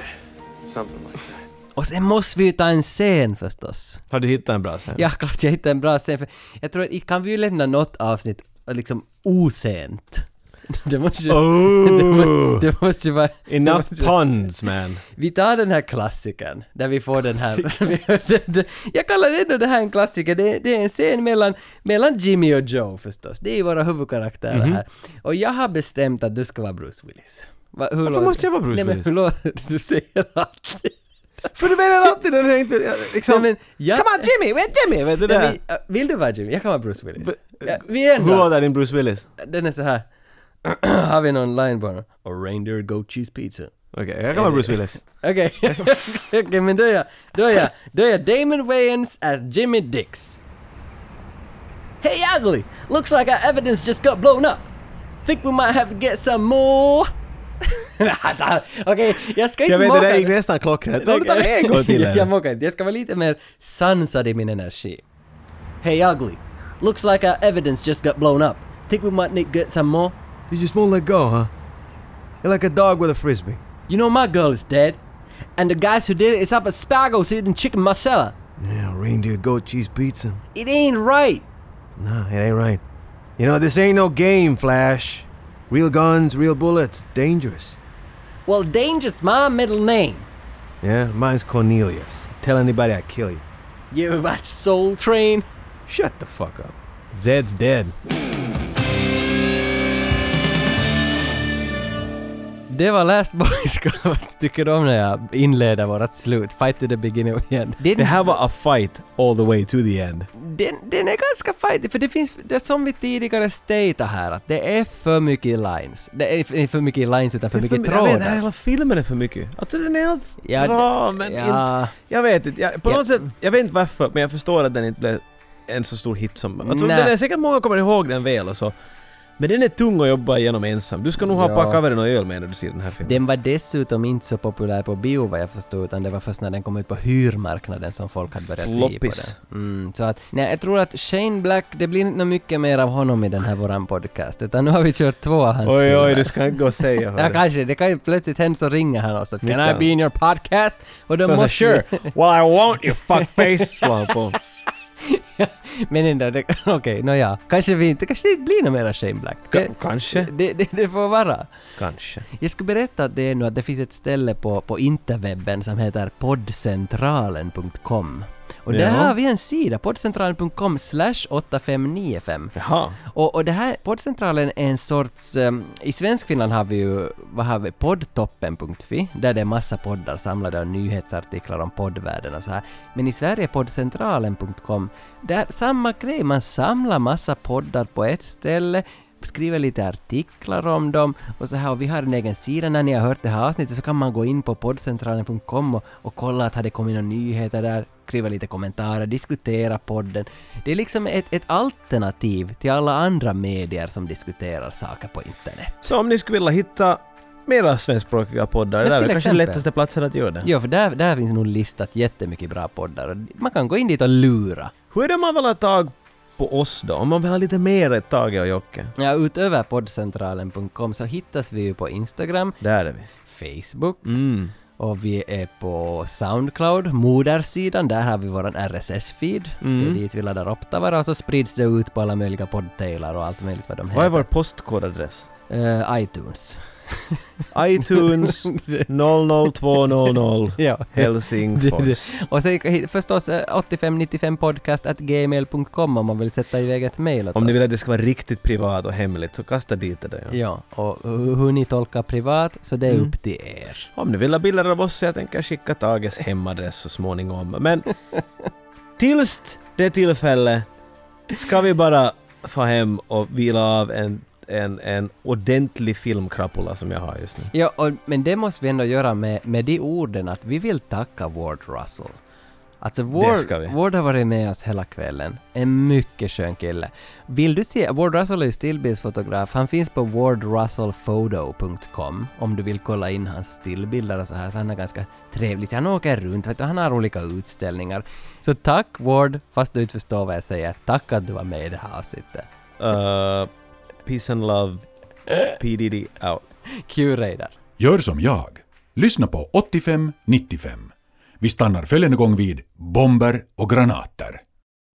S6: something like that.
S2: Och sen måste vi ju ta en scen förstås.
S1: Har du hittat en bra scen?
S2: Ja, klart jag hittade en bra scen. För jag tror att kan vi ju lämna något avsnitt liksom osent. Det måste ju... Det måste, det måste ju vara... det
S1: Oh! Enough
S2: måste ju-
S1: puns man.
S2: Vi tar den här klassikern, där vi får den här... jag kallar ändå det här en klassiker. Det, det är en scen mellan, mellan Jimmy och Joe förstås. Det är ju våra huvudkaraktärer
S1: Mhm.
S2: här. Och jag har bestämt att du ska vara Bruce Willis. Va, hur låter-
S1: måste jag vara Bruce
S2: Nej, men
S1: Willis?
S2: hur låter- Du säger alltid...
S1: För du menar alltid den här inte... Liksom,
S2: Nej, eh, men jag-
S1: Come on Jimmy, wait Jimmy! Vet du det?
S2: Nej, men, äh, vill du vara Jimmy? Jag kan vara Bruce Willis. Ja, vi är
S1: Hur
S2: ändå...
S1: låter din Bruce Willis?
S2: Den är så här. har vi någon line bara? A reindeer goat cheese pizza.
S1: Okej, jag
S2: Eh,
S1: kan vara Bruce Willis.
S2: Okej, okej men då är jag, då är jag, då är jag Damon Wayans as Jimmy Dix. Hey ugly! Looks like our evidence just got blown up. Think we might have to get some more... okej, jag ska inte
S1: Jag vet, det
S2: mocka
S1: där gick
S2: dig.
S1: nästan klockrent. Om du tar en gång till
S2: Jag
S1: här.
S2: mockar inte, jag ska vara lite mer sansad i min energi. Hey ugly! Looks like our evidence just got blown up. Think we might need to get some more?
S1: You just won't let go, huh? You're like a dog with a frisbee.
S2: You know my girl is dead. And the guys who did it is up at Spago's eating chicken masala.
S1: Yeah, reindeer goat cheese pizza.
S2: It ain't right.
S1: Nah, it ain't right. You know, this ain't no game, Flash. Real guns, real bullets. Dangerous.
S2: Well, danger's my middle name.
S1: Yeah, mine's Cornelius. Tell anybody I kill you.
S2: You ever watch Soul Train?
S1: Shut the fuck up. Zed's dead.
S2: Det var Last Boys Scout. Tycker du om när jag inleder vårt slut? Fight to the beginning igen. Den,
S1: They have a fight all the way to the end.
S2: den, den är ganska fightig, för det finns, det är som vi tidigare stated här, att det är för mycket lines. Det är inte för mycket lines utan för mycket
S1: jag vet, den här
S2: trådar.
S1: hela filmen är för mycket. Alltså den är allt
S2: Ja,
S1: bra,
S2: det-
S1: men
S2: ja.
S1: inte... Jag vet inte, jag, på
S2: Ja.
S1: något sätt, jag vet inte varför, men jag förstår att den inte blev en så stor hit som... Alltså,
S2: Nej.
S1: den är säkert många kommer ihåg den väl och så. Men den är tung att jobba igenom ensam. Du ska nog ha
S2: Ja.
S1: ja. packat över en öl med när du ser den här filmen.
S2: Den var dessutom inte så populär på bio vad jag förstod, utan det var först när den kom ut på hyrmarknaden som folk hade börjat se på
S1: Floppis.
S2: den. Mm, så att, nej, jag tror att Shane Black, det blir inte nå mycket mer av honom i den här våran podcast, utan nu har vi kört två av hans
S1: Oj,
S2: filmer.
S1: oj, det ska inte gå att säga.
S2: Ja,
S1: hörru.
S2: kanske. Det kan ju plötsligt hända så ringer han oss att “Can I
S1: Snittan.
S2: be in your podcast?” och då
S1: Så jag sa,
S2: måste
S1: sure,
S2: vi...
S1: well I won't you fuckface, slår han på.
S2: Men ändå, det- okej, nåja. Kanske vi inte... Kanske det inte blir något mera Shane Black. Det,
S1: K- kanske,
S2: det, det, det får vara.
S1: kanske.
S2: Jag ska berätta att det är nu att det finns ett ställe på, på interwebben som heter poddcentralen.com. Och där
S1: Jaha.
S2: har vi en sida, poddcentralen.com slash 8595.
S1: Jaha.
S2: Och, och det här, poddcentralen är en sorts... ehm, I Svenskfinland har vi ju, vad har vi, poddtoppen.fi, där det är massa poddar samlade och nyhetsartiklar om poddvärlden och så här. Men i Sverige, poddcentralen.com, där samma grej, man samlar massa poddar på ett ställe, skriver lite artiklar om dem och så här och vi har en egen sida när ni har hört det här avsnittet så kan man gå in på poddcentralen.com och, och kolla att har det kommit några nyheter där, skriva lite kommentarer, diskutera podden. Det är liksom ett, ett alternativ till alla andra medier som diskuterar saker på internet.
S1: Så om ni skulle vilja hitta mera svenskspråkiga poddar,
S2: Men
S1: det där är
S2: till
S1: kanske den
S2: exempel.
S1: lättaste platsen att göra det.
S2: Ja, för där, där finns nog listat jättemycket bra poddar och man kan gå in dit och lura.
S1: Hur är det man vill ha tag på oss då? Om man vill ha lite mer ett tag och Jocke?
S2: Ja, utöver poddcentralen.com så hittas vi ju på Instagram,
S1: Där är vi.
S2: Facebook
S1: Mm.
S2: Och vi är på Soundcloud, modersidan, där har vi våran RSS-feed. Det
S1: Mm.
S2: är dit vi laddar upp det bara och så sprids det ut på alla möjliga poddtailar och allt möjligt vad de
S1: Vad är
S2: heter.
S1: vår postkodadress?
S2: Eh, iTunes.
S1: iTunes 00200
S2: Ja.
S1: Helsingfors.
S2: Och sen hit- förstås eh, 8595podcast.gmail.com om man vill sätta iväg ett mejl åt
S1: Om ni
S2: oss.
S1: vill att det ska vara riktigt privat och hemligt så kasta dit det. där, Ja.
S2: Ja, och hur hur ni tolkar privat, så det är
S1: Mm.
S2: upp till er.
S1: Om ni vill ha bilder av oss så jag tänker skicka Tages hemadress så småningom. Men tills det tillfället ska vi bara få hem och vila av en, en, en ordentlig filmkrapula som jag har just nu.
S2: Ja, och, men det måste vi ändå göra med, med de orden att vi vill tacka Ward Russell. Alltså
S1: ska vi.
S2: Ward, Ward har varit med oss hela kvällen. En mycket skön kille. Vill du se, Ward Russell är ju stillbildsfotograf. Han finns på wardrussellphoto.com om du vill kolla in hans stillbilder och så här. Så han är ganska trevlig. Så han åker runt, vet du, han har olika utställningar. Så tack Ward, fast du inte förstår vad jag säger. Tack att du var med i det här avsnittet.
S1: Uh, peace and love. PDD out.
S2: Q-radar.
S10: Gör som jag. Lyssna på 85 95. Vi stannar följande gång vid bomber och granater.